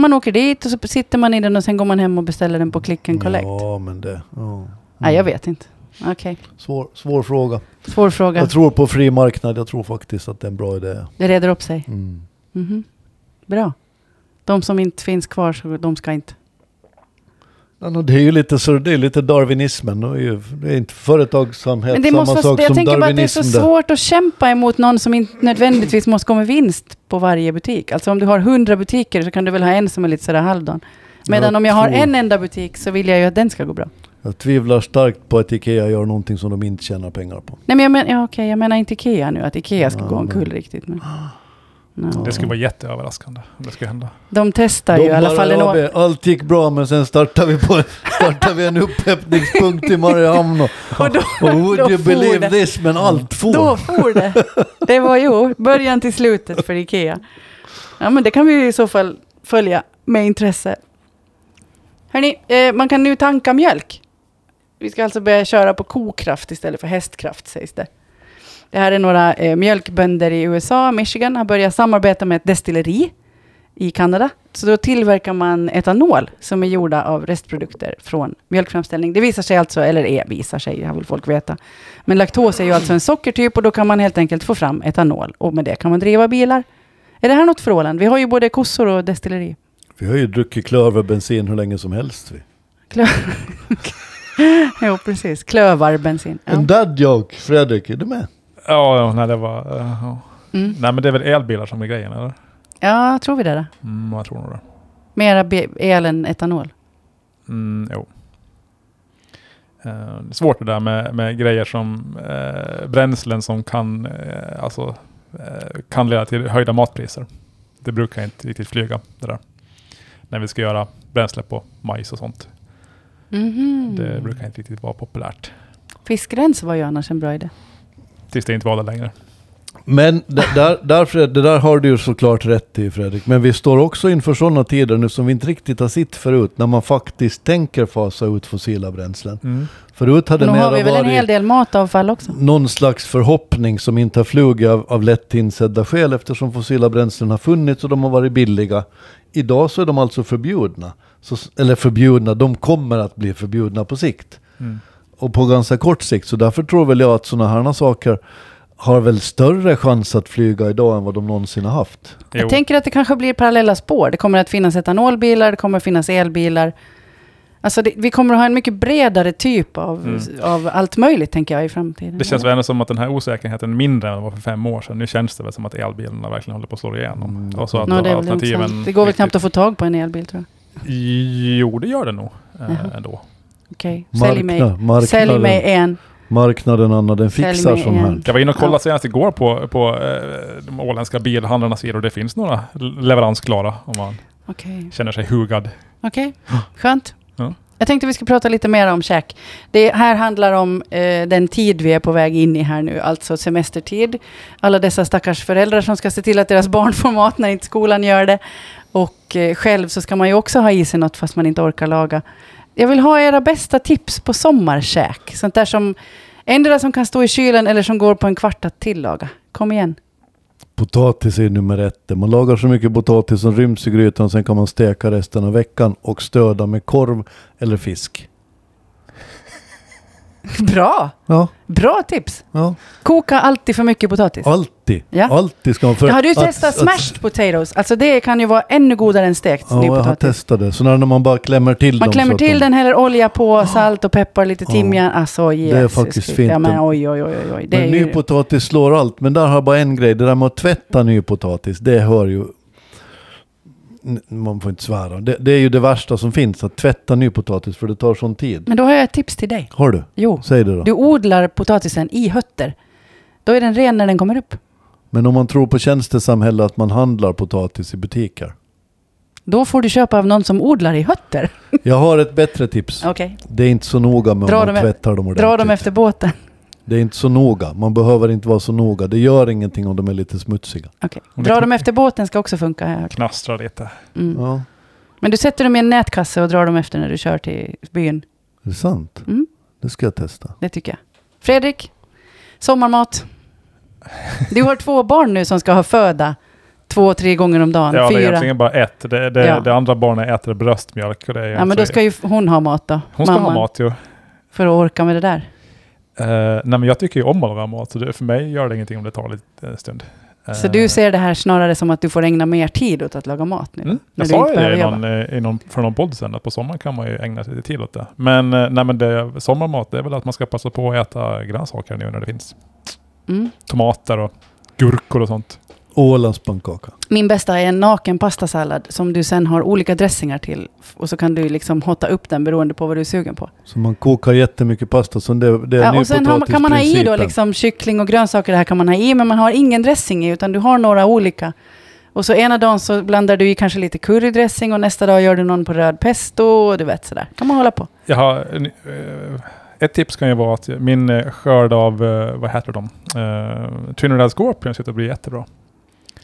Speaker 1: Man åker dit och så sitter man i den och sen går man hem och beställer den på click and collect.
Speaker 2: Ja, men det... Ja.
Speaker 1: Nej, jag vet inte. Okej,
Speaker 2: Svår, svår fråga.
Speaker 1: svår fråga.
Speaker 2: Jag tror på fri marknad. Jag tror faktiskt att det är en bra idé.
Speaker 1: Det reder upp sig.
Speaker 2: Mm.
Speaker 1: Mhm. Bra. De som inte finns kvar, så de ska inte.
Speaker 2: Ja, nå, Det är ju lite, så, det är lite darwinismen. Det är, ju, det är inte företagsamhet
Speaker 1: Men det
Speaker 2: samma
Speaker 1: måste vara,
Speaker 2: sak
Speaker 1: jag
Speaker 2: som
Speaker 1: tänker bara att det är
Speaker 2: darwinism.
Speaker 1: så
Speaker 2: där.
Speaker 1: svårt att kämpa emot någon som inte nödvändigtvis måste gå med vinst på varje butik. Alltså om du har hundra butiker så kan du väl ha en som är lite sådär halvdan. Medan
Speaker 2: Jag
Speaker 1: om jag har
Speaker 2: tror-
Speaker 1: en enda butik så vill jag ju att den ska gå bra.
Speaker 2: Jag tvivlar starkt på att Ikea gör någonting som de inte tjänar pengar på.
Speaker 1: Nej men jag, men, ja, okej, jag menar inte Ikea nu, att Ikea ska
Speaker 2: Ja,
Speaker 1: gå
Speaker 2: men-
Speaker 1: omkull riktigt.
Speaker 2: [gasps]
Speaker 1: Men, no.
Speaker 3: Det skulle vara jätteöverraskande om det skulle hända.
Speaker 1: De testar ju i alla fall en
Speaker 2: AB,
Speaker 1: år.
Speaker 2: Allt gick bra men sen startade vi, på, [laughs] startade vi en upphämtningspunkt i Mariehamn. [laughs] Och,
Speaker 1: [laughs] Och då,
Speaker 2: och would
Speaker 1: då
Speaker 2: you
Speaker 1: for
Speaker 2: believe
Speaker 1: det.
Speaker 2: this? Men allt får.
Speaker 1: då for det. Det var ju början till slutet för Ikea. Ja, men det kan vi ju i så fall följa med intresse. Hörni, eh, man kan nu tanka mjölk. Vi ska alltså börja köra på kokraft istället för hästkraft sägs det. Det här är några eh, mjölkbönder i USA, Michigan, har börjat samarbeta med ett destilleri i Kanada. Så då tillverkar man etanol som är gjorda av restprodukter från mjölkframställning. Det visar sig alltså, eller är, visar sig, det här vill folk veta. Men laktos är ju alltså en sockertyp och då kan man helt enkelt få fram etanol och med det kan man driva bilar. Är det här något för Åland? Vi har ju både kossor och [laughs] destilleri.
Speaker 2: Vi har ju druckit klöverbensin hur länge som helst. Vi.
Speaker 1: Klö- jo, precis. Klövarbensin. Ja.
Speaker 2: En dad joke, Fredrik, är du med?
Speaker 3: Ja, ja, nej det var... eh, ja.
Speaker 1: Mm.
Speaker 3: Nej men det är väl elbilar som är grejen eller?
Speaker 1: Ja, tror vi det. Då.
Speaker 3: Mm, jag tror nog det.
Speaker 1: Mera be- el än etanol.
Speaker 3: Mm, jo. Eh, det är svårt det där med, med grejer som eh, bränslen som kan, eh, alltså, eh, kan leda till höjda matpriser. Det brukar inte riktigt flyga det där. När vi ska göra bränsle på majs och sånt.
Speaker 1: Mhm.
Speaker 3: Det brukar inte riktigt vara populärt.
Speaker 1: Fiskrens var ju annars en bra idé.
Speaker 3: Tills det inte var det längre.
Speaker 2: Men d- där, därför, det där har du ju såklart rätt i Fredrik, men vi står också inför sådana tider nu som vi inte riktigt har sett förut, när man faktiskt tänker fasa ut fossila bränslen.
Speaker 1: Mm.
Speaker 2: Förut
Speaker 1: Nu
Speaker 2: hade det mera
Speaker 1: har vi
Speaker 2: varit
Speaker 1: väl en hel del matavfall också.
Speaker 2: någon slags förhoppning som inte har flugit av, av lätt insedda skäl eftersom fossila bränslen har funnits och de har varit billiga. Idag så är de alltså förbjudna. Så, s- eller förbjudna, de kommer att bli förbjudna på sikt.
Speaker 3: Mm.
Speaker 2: Och på ganska kort sikt. Så därför tror väl jag att sådana här saker har väl större chans att flyga idag än vad de någonsin har haft.
Speaker 1: Jag
Speaker 3: Jo.
Speaker 1: tänker att det kanske blir parallella spår. Det kommer att finnas etanolbilar, det kommer att finnas elbilar. Alltså det, vi kommer att ha en mycket bredare typ av,
Speaker 3: Mm.
Speaker 1: av allt möjligt, tänker jag, i framtiden.
Speaker 3: Det känns väl ändå som att den här osäkerheten är mindre än vad det var för fem år sedan. Nu känns det väl som att elbilarna verkligen håller på att slå igenom.
Speaker 2: Mm.
Speaker 3: Och så att
Speaker 1: Nå, det, är väl inte
Speaker 3: alternativen
Speaker 1: sant. det går väl
Speaker 3: riktigt-
Speaker 1: knappt att få tag på en elbil, tror jag.
Speaker 3: Jo, det gör det nog eh,
Speaker 1: Jaha.
Speaker 3: ändå.
Speaker 1: Okej, sälj mig.
Speaker 2: Markna, marknaden,
Speaker 1: Sälj mig en.
Speaker 2: marknaden Anna, den
Speaker 1: Sälj
Speaker 2: fixar
Speaker 1: mig
Speaker 2: sån här.
Speaker 1: en.
Speaker 3: Jag var inne och kollade
Speaker 1: Ja.
Speaker 3: senast igår på, på eh, de åländska bilhandlarnas sidor. Det finns några leveransklara om man
Speaker 1: Okej,
Speaker 3: känner sig hugad. [gasps]
Speaker 1: okej. Skönt.
Speaker 3: Ja.
Speaker 1: Jag tänkte vi ska prata lite mer om käk. Det här handlar om eh, den tid vi är på väg in i här nu, alltså semestertid. Alla dessa stackars föräldrar som ska se till att deras barn [laughs] får mat när inte skolan gör det. Och eh, själv så ska man ju också ha i sig något fast man inte orkar laga. Jag vill ha era bästa tips på sommarkäk. Sånt där som, endera som kan stå i kylen eller som går på en kvart att tillaga. Kom igen.
Speaker 2: Potatis är nummer ett. Man lagar så mycket potatis som ryms i grytan och sen kan man steka resten av veckan och stöda med korv eller fisk.
Speaker 1: Bra!
Speaker 2: Ja,
Speaker 1: Bra tips!
Speaker 2: ja.
Speaker 1: Koka alltid för mycket potatis.
Speaker 2: alltid.
Speaker 1: Ja.
Speaker 2: Alltid ska man... För
Speaker 1: jag hade ju
Speaker 2: att-
Speaker 1: testat
Speaker 2: att-
Speaker 1: smashed potatoes. Alltså det kan ju vara ännu godare än stekt
Speaker 2: Ja, jag har
Speaker 1: nypotatis.
Speaker 2: testat det. Så när man bara klämmer till
Speaker 1: Man
Speaker 2: dem. så
Speaker 1: klämmer
Speaker 2: att
Speaker 1: till
Speaker 2: de,
Speaker 1: den, häller olja på, salt och peppar, lite
Speaker 2: Ja.
Speaker 1: timjan. Alltså Jesus.
Speaker 2: är faktiskt
Speaker 1: Christ.
Speaker 2: fint.
Speaker 1: Ja, men oj, oj, oj, oj, oj. Det är
Speaker 2: men
Speaker 1: ju...
Speaker 2: ny potatis slår allt. Men där har jag bara en grej. Det där med att tvätta ny potatis, det hör ju... N- Man får inte svära. Det, det är ju det värsta som finns, att tvätta ny potatis, för det tar sån tid.
Speaker 1: Men då har jag ett tips till dig.
Speaker 2: Har du?
Speaker 1: Jo,
Speaker 2: Säg det då.
Speaker 1: du odlar potatisen i hötter. Då är den ren när den kommer upp.
Speaker 2: Men om man tror på tjänstesamhälle att man handlar potatis i butiker.
Speaker 1: Då får du köpa av någon som odlar i hötter.
Speaker 2: Jag har ett bättre tips.
Speaker 1: Okej,
Speaker 2: Det är inte så noga med
Speaker 1: Dra
Speaker 2: om
Speaker 1: dem
Speaker 2: man
Speaker 1: e-
Speaker 2: tvättar dem ordentligt.
Speaker 1: dra dem efter båten.
Speaker 2: Det är inte så noga. Man behöver inte vara så noga. Det gör ingenting om de är lite smutsiga.
Speaker 1: Okej.
Speaker 3: Och det
Speaker 1: Dra
Speaker 3: kan-
Speaker 1: dem efter båten ska också funka. har jag hört.
Speaker 3: Knastrar lite.
Speaker 1: Mm.
Speaker 2: Ja,
Speaker 1: Men du sätter dem i en nätkasse och drar dem efter när du kör till byn.
Speaker 2: det är sant.
Speaker 1: Mm.
Speaker 2: Det ska jag testa.
Speaker 1: Det tycker jag. Fredrik, sommarmat. Du har två barn nu som ska ha föda två, tre gånger om dagen.
Speaker 3: Ja, det är
Speaker 1: Fyra.
Speaker 3: egentligen bara ett. Det, det,
Speaker 1: Ja.
Speaker 3: det andra barnet äter bröstmjölk. Och det är
Speaker 1: ja, men då
Speaker 3: alltså-
Speaker 1: ska ju hon ha mat då.
Speaker 3: Hon ska
Speaker 1: mamman,
Speaker 3: ha mat ju.
Speaker 1: För att orka med det där.
Speaker 3: Eh, nej, men jag tycker ju om att laga mat. Så det, för mig gör det ingenting om det tar lite eh, stund.
Speaker 1: Så
Speaker 3: Eh,
Speaker 1: du ser det här snarare som att du får ägna mer tid åt att laga mat nu.
Speaker 3: Mm.
Speaker 1: när
Speaker 3: Jag
Speaker 1: du
Speaker 3: sa
Speaker 1: inte
Speaker 3: ju det i
Speaker 1: behöver
Speaker 3: någon, eh, i någon, för någon podd sen, att på sommaren kan man ju ägna sig lite tid åt det. Men, eh, nej, men det, sommarmat, det är väl att man ska passa på att äta grönsaker nu när det finns
Speaker 1: Mm.
Speaker 3: tomater och gurkor och sånt.
Speaker 2: Ålands pannkaka.
Speaker 1: Min bästa är en naken pastasallad som du sen har olika dressingar till. Och så kan du liksom hotta upp den beroende på vad du är sugen på.
Speaker 2: Så man kokar jättemycket pasta. Så det, det är
Speaker 1: Ja, och sen har, man- kan man ha i då
Speaker 2: nypotatisprincipen.
Speaker 1: liksom kyckling och grönsaker, det här kan man ha i, men man har ingen dressing i, utan du har några olika. Och så ena dagen så blandar du i kanske lite currydressing och nästa dag gör du någon på röd pesto och du vet sådär. Kan man hålla på.
Speaker 3: Jag har, en, eh, ett tips kan ju vara att min eh, skörd av, eh, vad heter de, uh, Trinidad Scorpion ser ut att bli jättebra.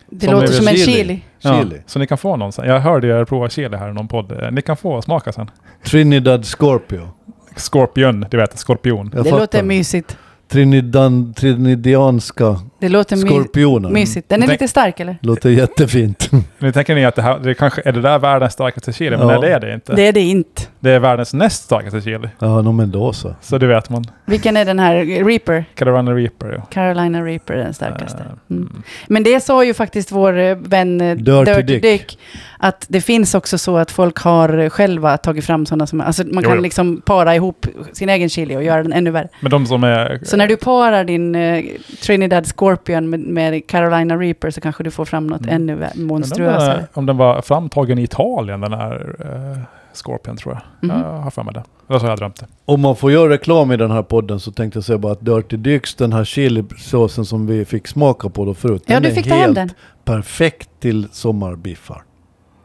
Speaker 1: Det
Speaker 3: Som
Speaker 1: låter
Speaker 3: är
Speaker 1: som en
Speaker 2: chili.
Speaker 1: chili.
Speaker 2: Chili.
Speaker 3: Ja, så ni kan få någon sen. Jag hörde er prova chili här i någon podd. Eh, Ni kan få smaka sen.
Speaker 2: Trinidad Scorpio.
Speaker 3: Scorpion, du vet, skorpion.
Speaker 2: Jag
Speaker 1: det
Speaker 2: fattar.
Speaker 1: låter mysigt.
Speaker 2: Trinidan, Trinidianska
Speaker 1: Det Det låter my-
Speaker 2: Skorpioner.
Speaker 1: mysigt. Den är
Speaker 3: Tänk-
Speaker 1: lite stark eller?
Speaker 2: Låter jättefint. [laughs]
Speaker 3: Nu tänker ni att det, här, det kanske är det där världens starkaste chili, men
Speaker 2: Ja.
Speaker 3: nej, det är det inte.
Speaker 1: Det är det inte.
Speaker 3: Det är världens näst starkaste chili.
Speaker 2: Ja, no, men då så.
Speaker 3: Så det vet man.
Speaker 1: Vilken är den här? Reaper?
Speaker 3: Carolina Reaper. Ja.
Speaker 1: Carolina Reaper är den
Speaker 2: Ah.
Speaker 1: starkaste.
Speaker 3: Eh,
Speaker 1: Mm. Men det sa ju faktiskt vår eh, vän eh,
Speaker 2: Dirty
Speaker 1: Dirty
Speaker 2: Dick.
Speaker 1: Dick. att det finns också så att folk har eh, själva tagit fram sådana som, alltså man
Speaker 3: Jo,
Speaker 1: kan
Speaker 3: jo.
Speaker 1: liksom para ihop sin egen chili och göra den ännu värre.
Speaker 3: Men de som är...
Speaker 1: Så när du parar din eh, Trinidad Scorpion med, med Carolina Reaper så kanske du får fram något
Speaker 3: Mm.
Speaker 1: ännu vär-
Speaker 3: Men den där,
Speaker 1: monstruösare.
Speaker 3: om den var framtagen i Italien, den här eh, Scorpion tror jag.
Speaker 1: Mhm.
Speaker 3: Jag har för mig det. Eller så har jag drömt det.
Speaker 2: Om man får göra reklam i den här podden så tänkte jag säga bara att Dirty Dicks, den här chilisåsen som vi fick smaka på då förut.
Speaker 1: Ja,
Speaker 2: den
Speaker 1: du
Speaker 2: är
Speaker 1: fick ta hem
Speaker 2: helt
Speaker 1: den.
Speaker 2: perfekt till sommarbiffar.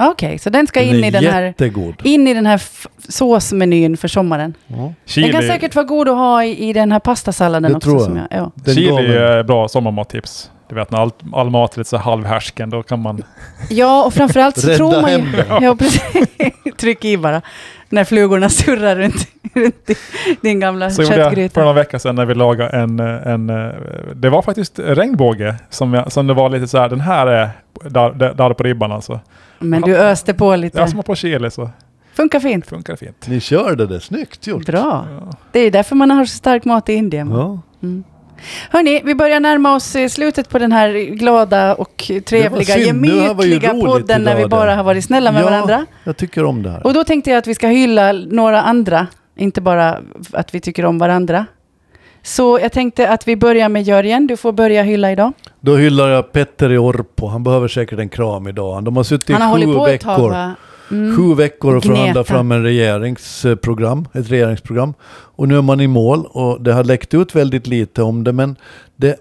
Speaker 1: Ah, Okej, så den ska in
Speaker 2: är
Speaker 1: i den här,
Speaker 2: jättegod.
Speaker 1: in i den här f- såsmenyn för sommaren.
Speaker 2: Ja.
Speaker 3: Chili,
Speaker 1: Den kan säkert vara god att ha i, i den här pastasalladen
Speaker 2: Det
Speaker 1: också.
Speaker 2: tror jag.
Speaker 1: Som jag ja.
Speaker 2: Den gav
Speaker 3: chili
Speaker 2: en-
Speaker 3: är bra sommarmattips. Du vet när all, all mat är lite så här halvhärsken, då kan man...
Speaker 1: ja, och framförallt så
Speaker 2: [laughs] Rädda
Speaker 1: tror man ju...
Speaker 2: hem den.
Speaker 1: Ja, precis. [laughs] Tryck i bara. När flugorna surrar runt, runt i din gamla
Speaker 3: Så gjorde jag för
Speaker 1: köttgryta.
Speaker 3: några veckor sedan när vi lagade en, en... eh, Det var faktiskt regnbåge som, jag, som det var lite så här, den här är där, där där på ribban alltså.
Speaker 1: Men du öste på lite.
Speaker 3: Jag som har på chili så
Speaker 1: Funkar fint.
Speaker 3: funkar det fint.
Speaker 2: Ni körde det, snyggt gjort.
Speaker 1: Bra.
Speaker 3: Ja.
Speaker 1: Det är därför man har så stark mat i Indien.
Speaker 2: Ja.
Speaker 1: Mm. Hörni, vi börjar närma oss eh, slutet på den här glada och trevliga,
Speaker 2: synd. Det här var ju
Speaker 1: gemytliga
Speaker 2: roligt
Speaker 1: podden när
Speaker 2: idag
Speaker 1: vi bara
Speaker 2: det.
Speaker 1: har varit snälla med
Speaker 2: Ja.
Speaker 1: varandra.
Speaker 2: Jag tycker om det här.
Speaker 1: Och då tänkte jag att vi ska hylla några andra, inte bara att vi tycker om varandra. Så jag tänkte att vi börjar med Jörgen, du får börja hylla idag.
Speaker 2: Då hyllar jag Petter i Orpo. Han behöver säkert en kram idag. De har suttit i
Speaker 1: Han har
Speaker 2: sju
Speaker 1: hållit på ett tag
Speaker 2: veckor.
Speaker 1: va? Mm.
Speaker 2: Sju veckor och förhandla
Speaker 1: Gneta.
Speaker 2: fram en regeringsprogram, ett regeringsprogram. Och nu är man i mål och det har läckt ut väldigt lite om det men det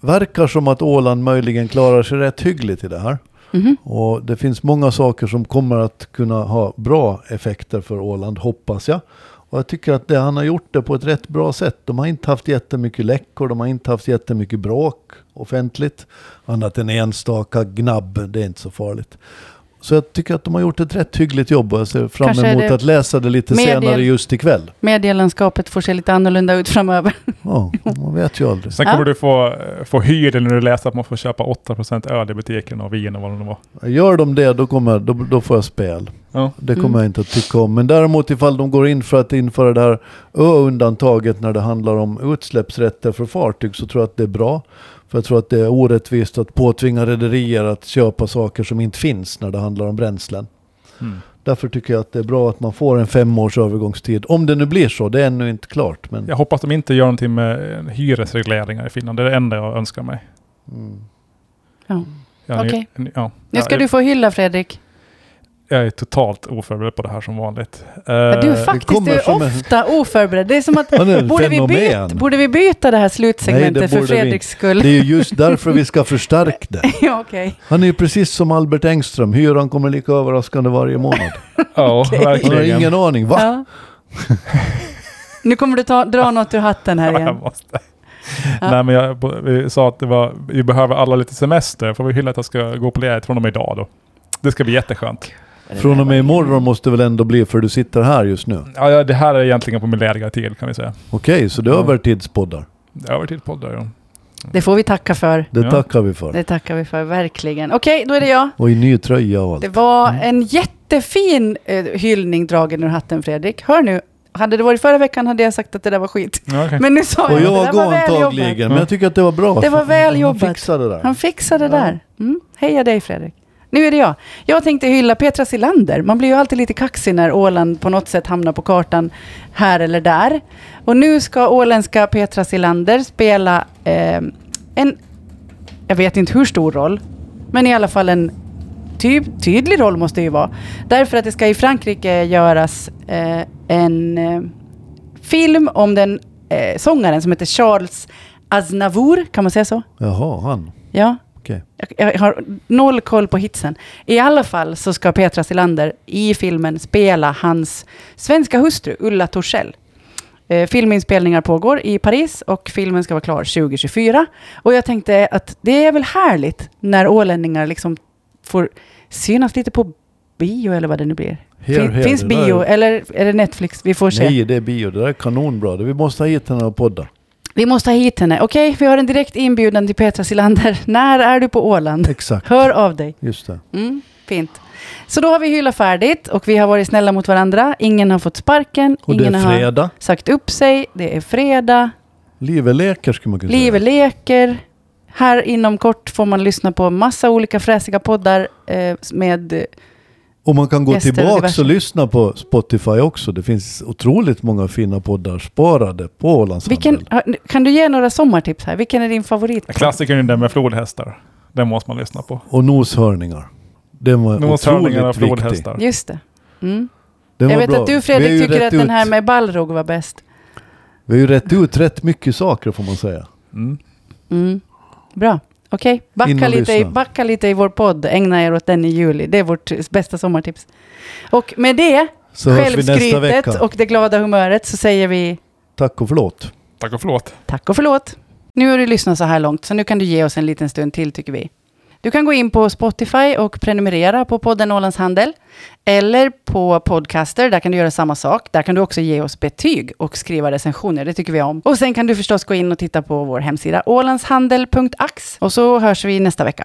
Speaker 2: verkar som att Åland möjligen klarar sig rätt hyggligt i det här.
Speaker 1: Mhm.
Speaker 2: Och det finns många saker som kommer att kunna ha bra effekter för Åland, hoppas jag. Och jag tycker att det, han har gjort det på ett rätt bra sätt. De har inte haft jättemycket läckor, de har inte haft jättemycket bråk offentligt. Annat än enstaka gnabb, det är inte så farligt. Så jag tycker att de har gjort ett rätt hyggligt jobb och jag ser fram
Speaker 1: Kanske är
Speaker 2: emot
Speaker 1: det
Speaker 2: att läsa det lite
Speaker 1: medier-
Speaker 2: senare just ikväll.
Speaker 1: Medielandskapet får se lite annorlunda ut framöver.
Speaker 2: Ja, man vet ju aldrig.
Speaker 3: Sen
Speaker 1: Ja.
Speaker 3: kommer du få, eh, få hyr när du läser att man får köpa 8% öl i butiken och vin och vad det nu var.
Speaker 2: Gör de det, då, kommer, då, då får jag spel.
Speaker 3: Ja.
Speaker 2: Det kommer
Speaker 1: Mm.
Speaker 2: jag inte att tycka om. Men däremot ifall de går in för att införa det här ö-undantaget när det handlar om utsläppsrätter för fartyg så tror jag att det är bra. För jag tror att det är orättvist att påtvinga rederier att köpa saker som inte finns när det handlar om bränslen.
Speaker 3: Mm.
Speaker 2: Därför tycker jag att det är bra att man får en femårs övergångstid. Om det nu blir så, det är ännu inte klart. Men,
Speaker 3: Jag hoppas de inte gör någonting med eh, hyresregleringar i Finland. Det är det enda jag önskar mig.
Speaker 2: mm.
Speaker 3: Jag, är-
Speaker 1: Okej.
Speaker 3: ja.
Speaker 1: Nu ska
Speaker 3: jag,
Speaker 1: du få hylla
Speaker 2: Eh,
Speaker 1: Fredrik.
Speaker 3: jag är totalt oförberedd på det här som vanligt.
Speaker 1: Ja, du är
Speaker 3: Eh,
Speaker 1: faktiskt
Speaker 2: kommer
Speaker 1: du är
Speaker 2: som en-
Speaker 1: ofta oförberedd. Det är som att
Speaker 2: Han är ett
Speaker 1: borde vi, byta,
Speaker 2: fenomen.
Speaker 1: borde vi byta det här slutsegmentet
Speaker 2: Nej, det
Speaker 1: för
Speaker 2: borde vi
Speaker 1: Fredriks skull?
Speaker 2: Det är ju just därför vi ska förstärka det.
Speaker 1: [laughs] ja, okej.
Speaker 2: Han är ju precis som Albert Engström. Hyran kommer lika överraskande varje månad.
Speaker 3: Ja,
Speaker 2: Han har
Speaker 3: verkligen.
Speaker 2: ingen aning. Va?
Speaker 1: Ja. Nu kommer du ta, dra något ur hatten här
Speaker 3: Ja,
Speaker 1: igen.
Speaker 3: jag måste. Nej, men jag bo- vi sa att det var, vi behöver alla lite semester. Får vi hylla att jag ska gå på ledigt från och med idag då. Det ska bli jätteskönt.
Speaker 2: Från och med imorgon måste väl ändå bli för du sitter här just
Speaker 1: Mm.
Speaker 2: nu.
Speaker 3: Ja, ja, det här är egentligen på min lediga tid kan vi säga.
Speaker 2: Okej, så det är övertidspoddar.
Speaker 3: Det har varit till poddar. Ja.
Speaker 1: Det får vi tacka för.
Speaker 2: Det
Speaker 3: Ja.
Speaker 2: tackar vi för.
Speaker 1: Det tackar vi för, verkligen. Okej, då är det jag.
Speaker 2: Och i ny tröja och allt.
Speaker 1: Det var en jättefin eh, hyllning dragen ur hatten, Fredrik. Hör nu, hade det varit förra veckan hade jag sagt att det där var skit.
Speaker 3: Ja, okej.
Speaker 1: Men nu sa
Speaker 2: Och
Speaker 1: jag,
Speaker 2: jag
Speaker 1: att det
Speaker 2: går
Speaker 1: där var väl jobbat.
Speaker 2: antagligen, men jag tycker att det var bra.
Speaker 1: Det var väl
Speaker 2: Han
Speaker 1: jobbat.
Speaker 2: fixade det där.
Speaker 1: Han fixade det där. Mm. Heja dig, Fredrik. Nu är det jag. Jag tänkte hylla Petra Silander. Man blir ju alltid lite kaxig när Åland på något sätt hamnar på kartan här eller där. Och nu ska åländska Petra Silander spela eh, en, jag vet inte hur stor roll, men i alla fall en ty- tydlig roll måste det ju vara. Därför att det ska i Frankrike göras eh, en eh, film om den eh, sångaren som heter Charles Aznavour, kan man säga så?
Speaker 2: Jaha, han.
Speaker 1: Ja,
Speaker 2: Okej.
Speaker 1: jag, jag har noll koll på hitsen. I alla fall så ska Petra Silander i filmen spela hans svenska hustru Ulla Torssell. Eh, filminspelningar pågår i Paris och filmen ska vara klar 2024. Och jag tänkte att det är väl härligt när ålänningar liksom får synas lite på bio eller vad det nu blir.
Speaker 2: Here,
Speaker 1: Fin-
Speaker 2: here,
Speaker 1: Finns
Speaker 2: det där-
Speaker 1: bio eller är det Netflix? Vi får se. [laughs]
Speaker 2: Nej, det är bio. Det där är kanonbra. Det- Vi måste ha hit den här podden.
Speaker 1: Vi måste ha hit henne. Okej, vi har en direkt inbjudan till Petra Silander. När är du på Åland?
Speaker 2: Exakt,
Speaker 1: Hör av dig.
Speaker 2: just det.
Speaker 1: Mm, fint. Så då har vi hyllat färdigt och vi har varit snälla mot varandra. Ingen har fått sparken.
Speaker 2: Och
Speaker 1: ingen
Speaker 2: det är
Speaker 1: har
Speaker 2: fredag.
Speaker 1: sagt upp sig. Det är fredag.
Speaker 2: Livet leker skulle man kunna
Speaker 1: Livet leker. Här inom kort får man lyssna på massa olika fräsiga poddar eh, med...
Speaker 2: säga. Och man kan gå
Speaker 1: Gäster och
Speaker 2: tillbaka
Speaker 1: diverse.
Speaker 2: och lyssna på Spotify också. Det finns otroligt många fina poddar sparade på Ålandshandel.
Speaker 1: Vilken, har- kan du ge några sommartips här? Vilken är din favorit?
Speaker 3: Klassikern är den med flodhästar. Den måste man lyssna på.
Speaker 2: Och noshörningar. Den var otroligt
Speaker 3: Noshörningar av
Speaker 2: viktig.
Speaker 3: flodhästar.
Speaker 1: Just det. Mm.
Speaker 2: Den
Speaker 1: Jag
Speaker 2: var
Speaker 1: vet
Speaker 2: bra.
Speaker 1: att du
Speaker 2: Vi är ju
Speaker 1: Fredrik tycker
Speaker 2: rätt
Speaker 1: att den här
Speaker 2: ut-
Speaker 1: med Balrog var bäst.
Speaker 2: Vi har ju rätt ut rätt mycket saker får man säga.
Speaker 3: Mm.
Speaker 1: Mm. Bra. Okej,
Speaker 2: In
Speaker 1: backa,
Speaker 2: och
Speaker 1: lite i-
Speaker 2: lyssna.
Speaker 1: backa lite i vår podd. Ägna er åt den i juli. Det är vårt eh, bästa sommartips. Och med det,
Speaker 2: Så hörs vi nästa
Speaker 1: självskrytet
Speaker 2: vecka.
Speaker 1: och det glada humöret, så säger vi
Speaker 2: Tack och förlåt.
Speaker 3: Tack och förlåt.
Speaker 1: tack och förlåt. Nu har du lyssnat så här långt, så nu kan du ge oss en liten stund till, tycker vi. Du kan gå in på Spotify och prenumerera på podden Ålands Handel. Eller på Podcaster, där kan du göra samma sak. Där kan du också ge oss betyg och skriva recensioner, det tycker vi om. Och sen kan du förstås gå in och titta på vår hemsida ålandshandel.ax. Och så hörs vi nästa vecka.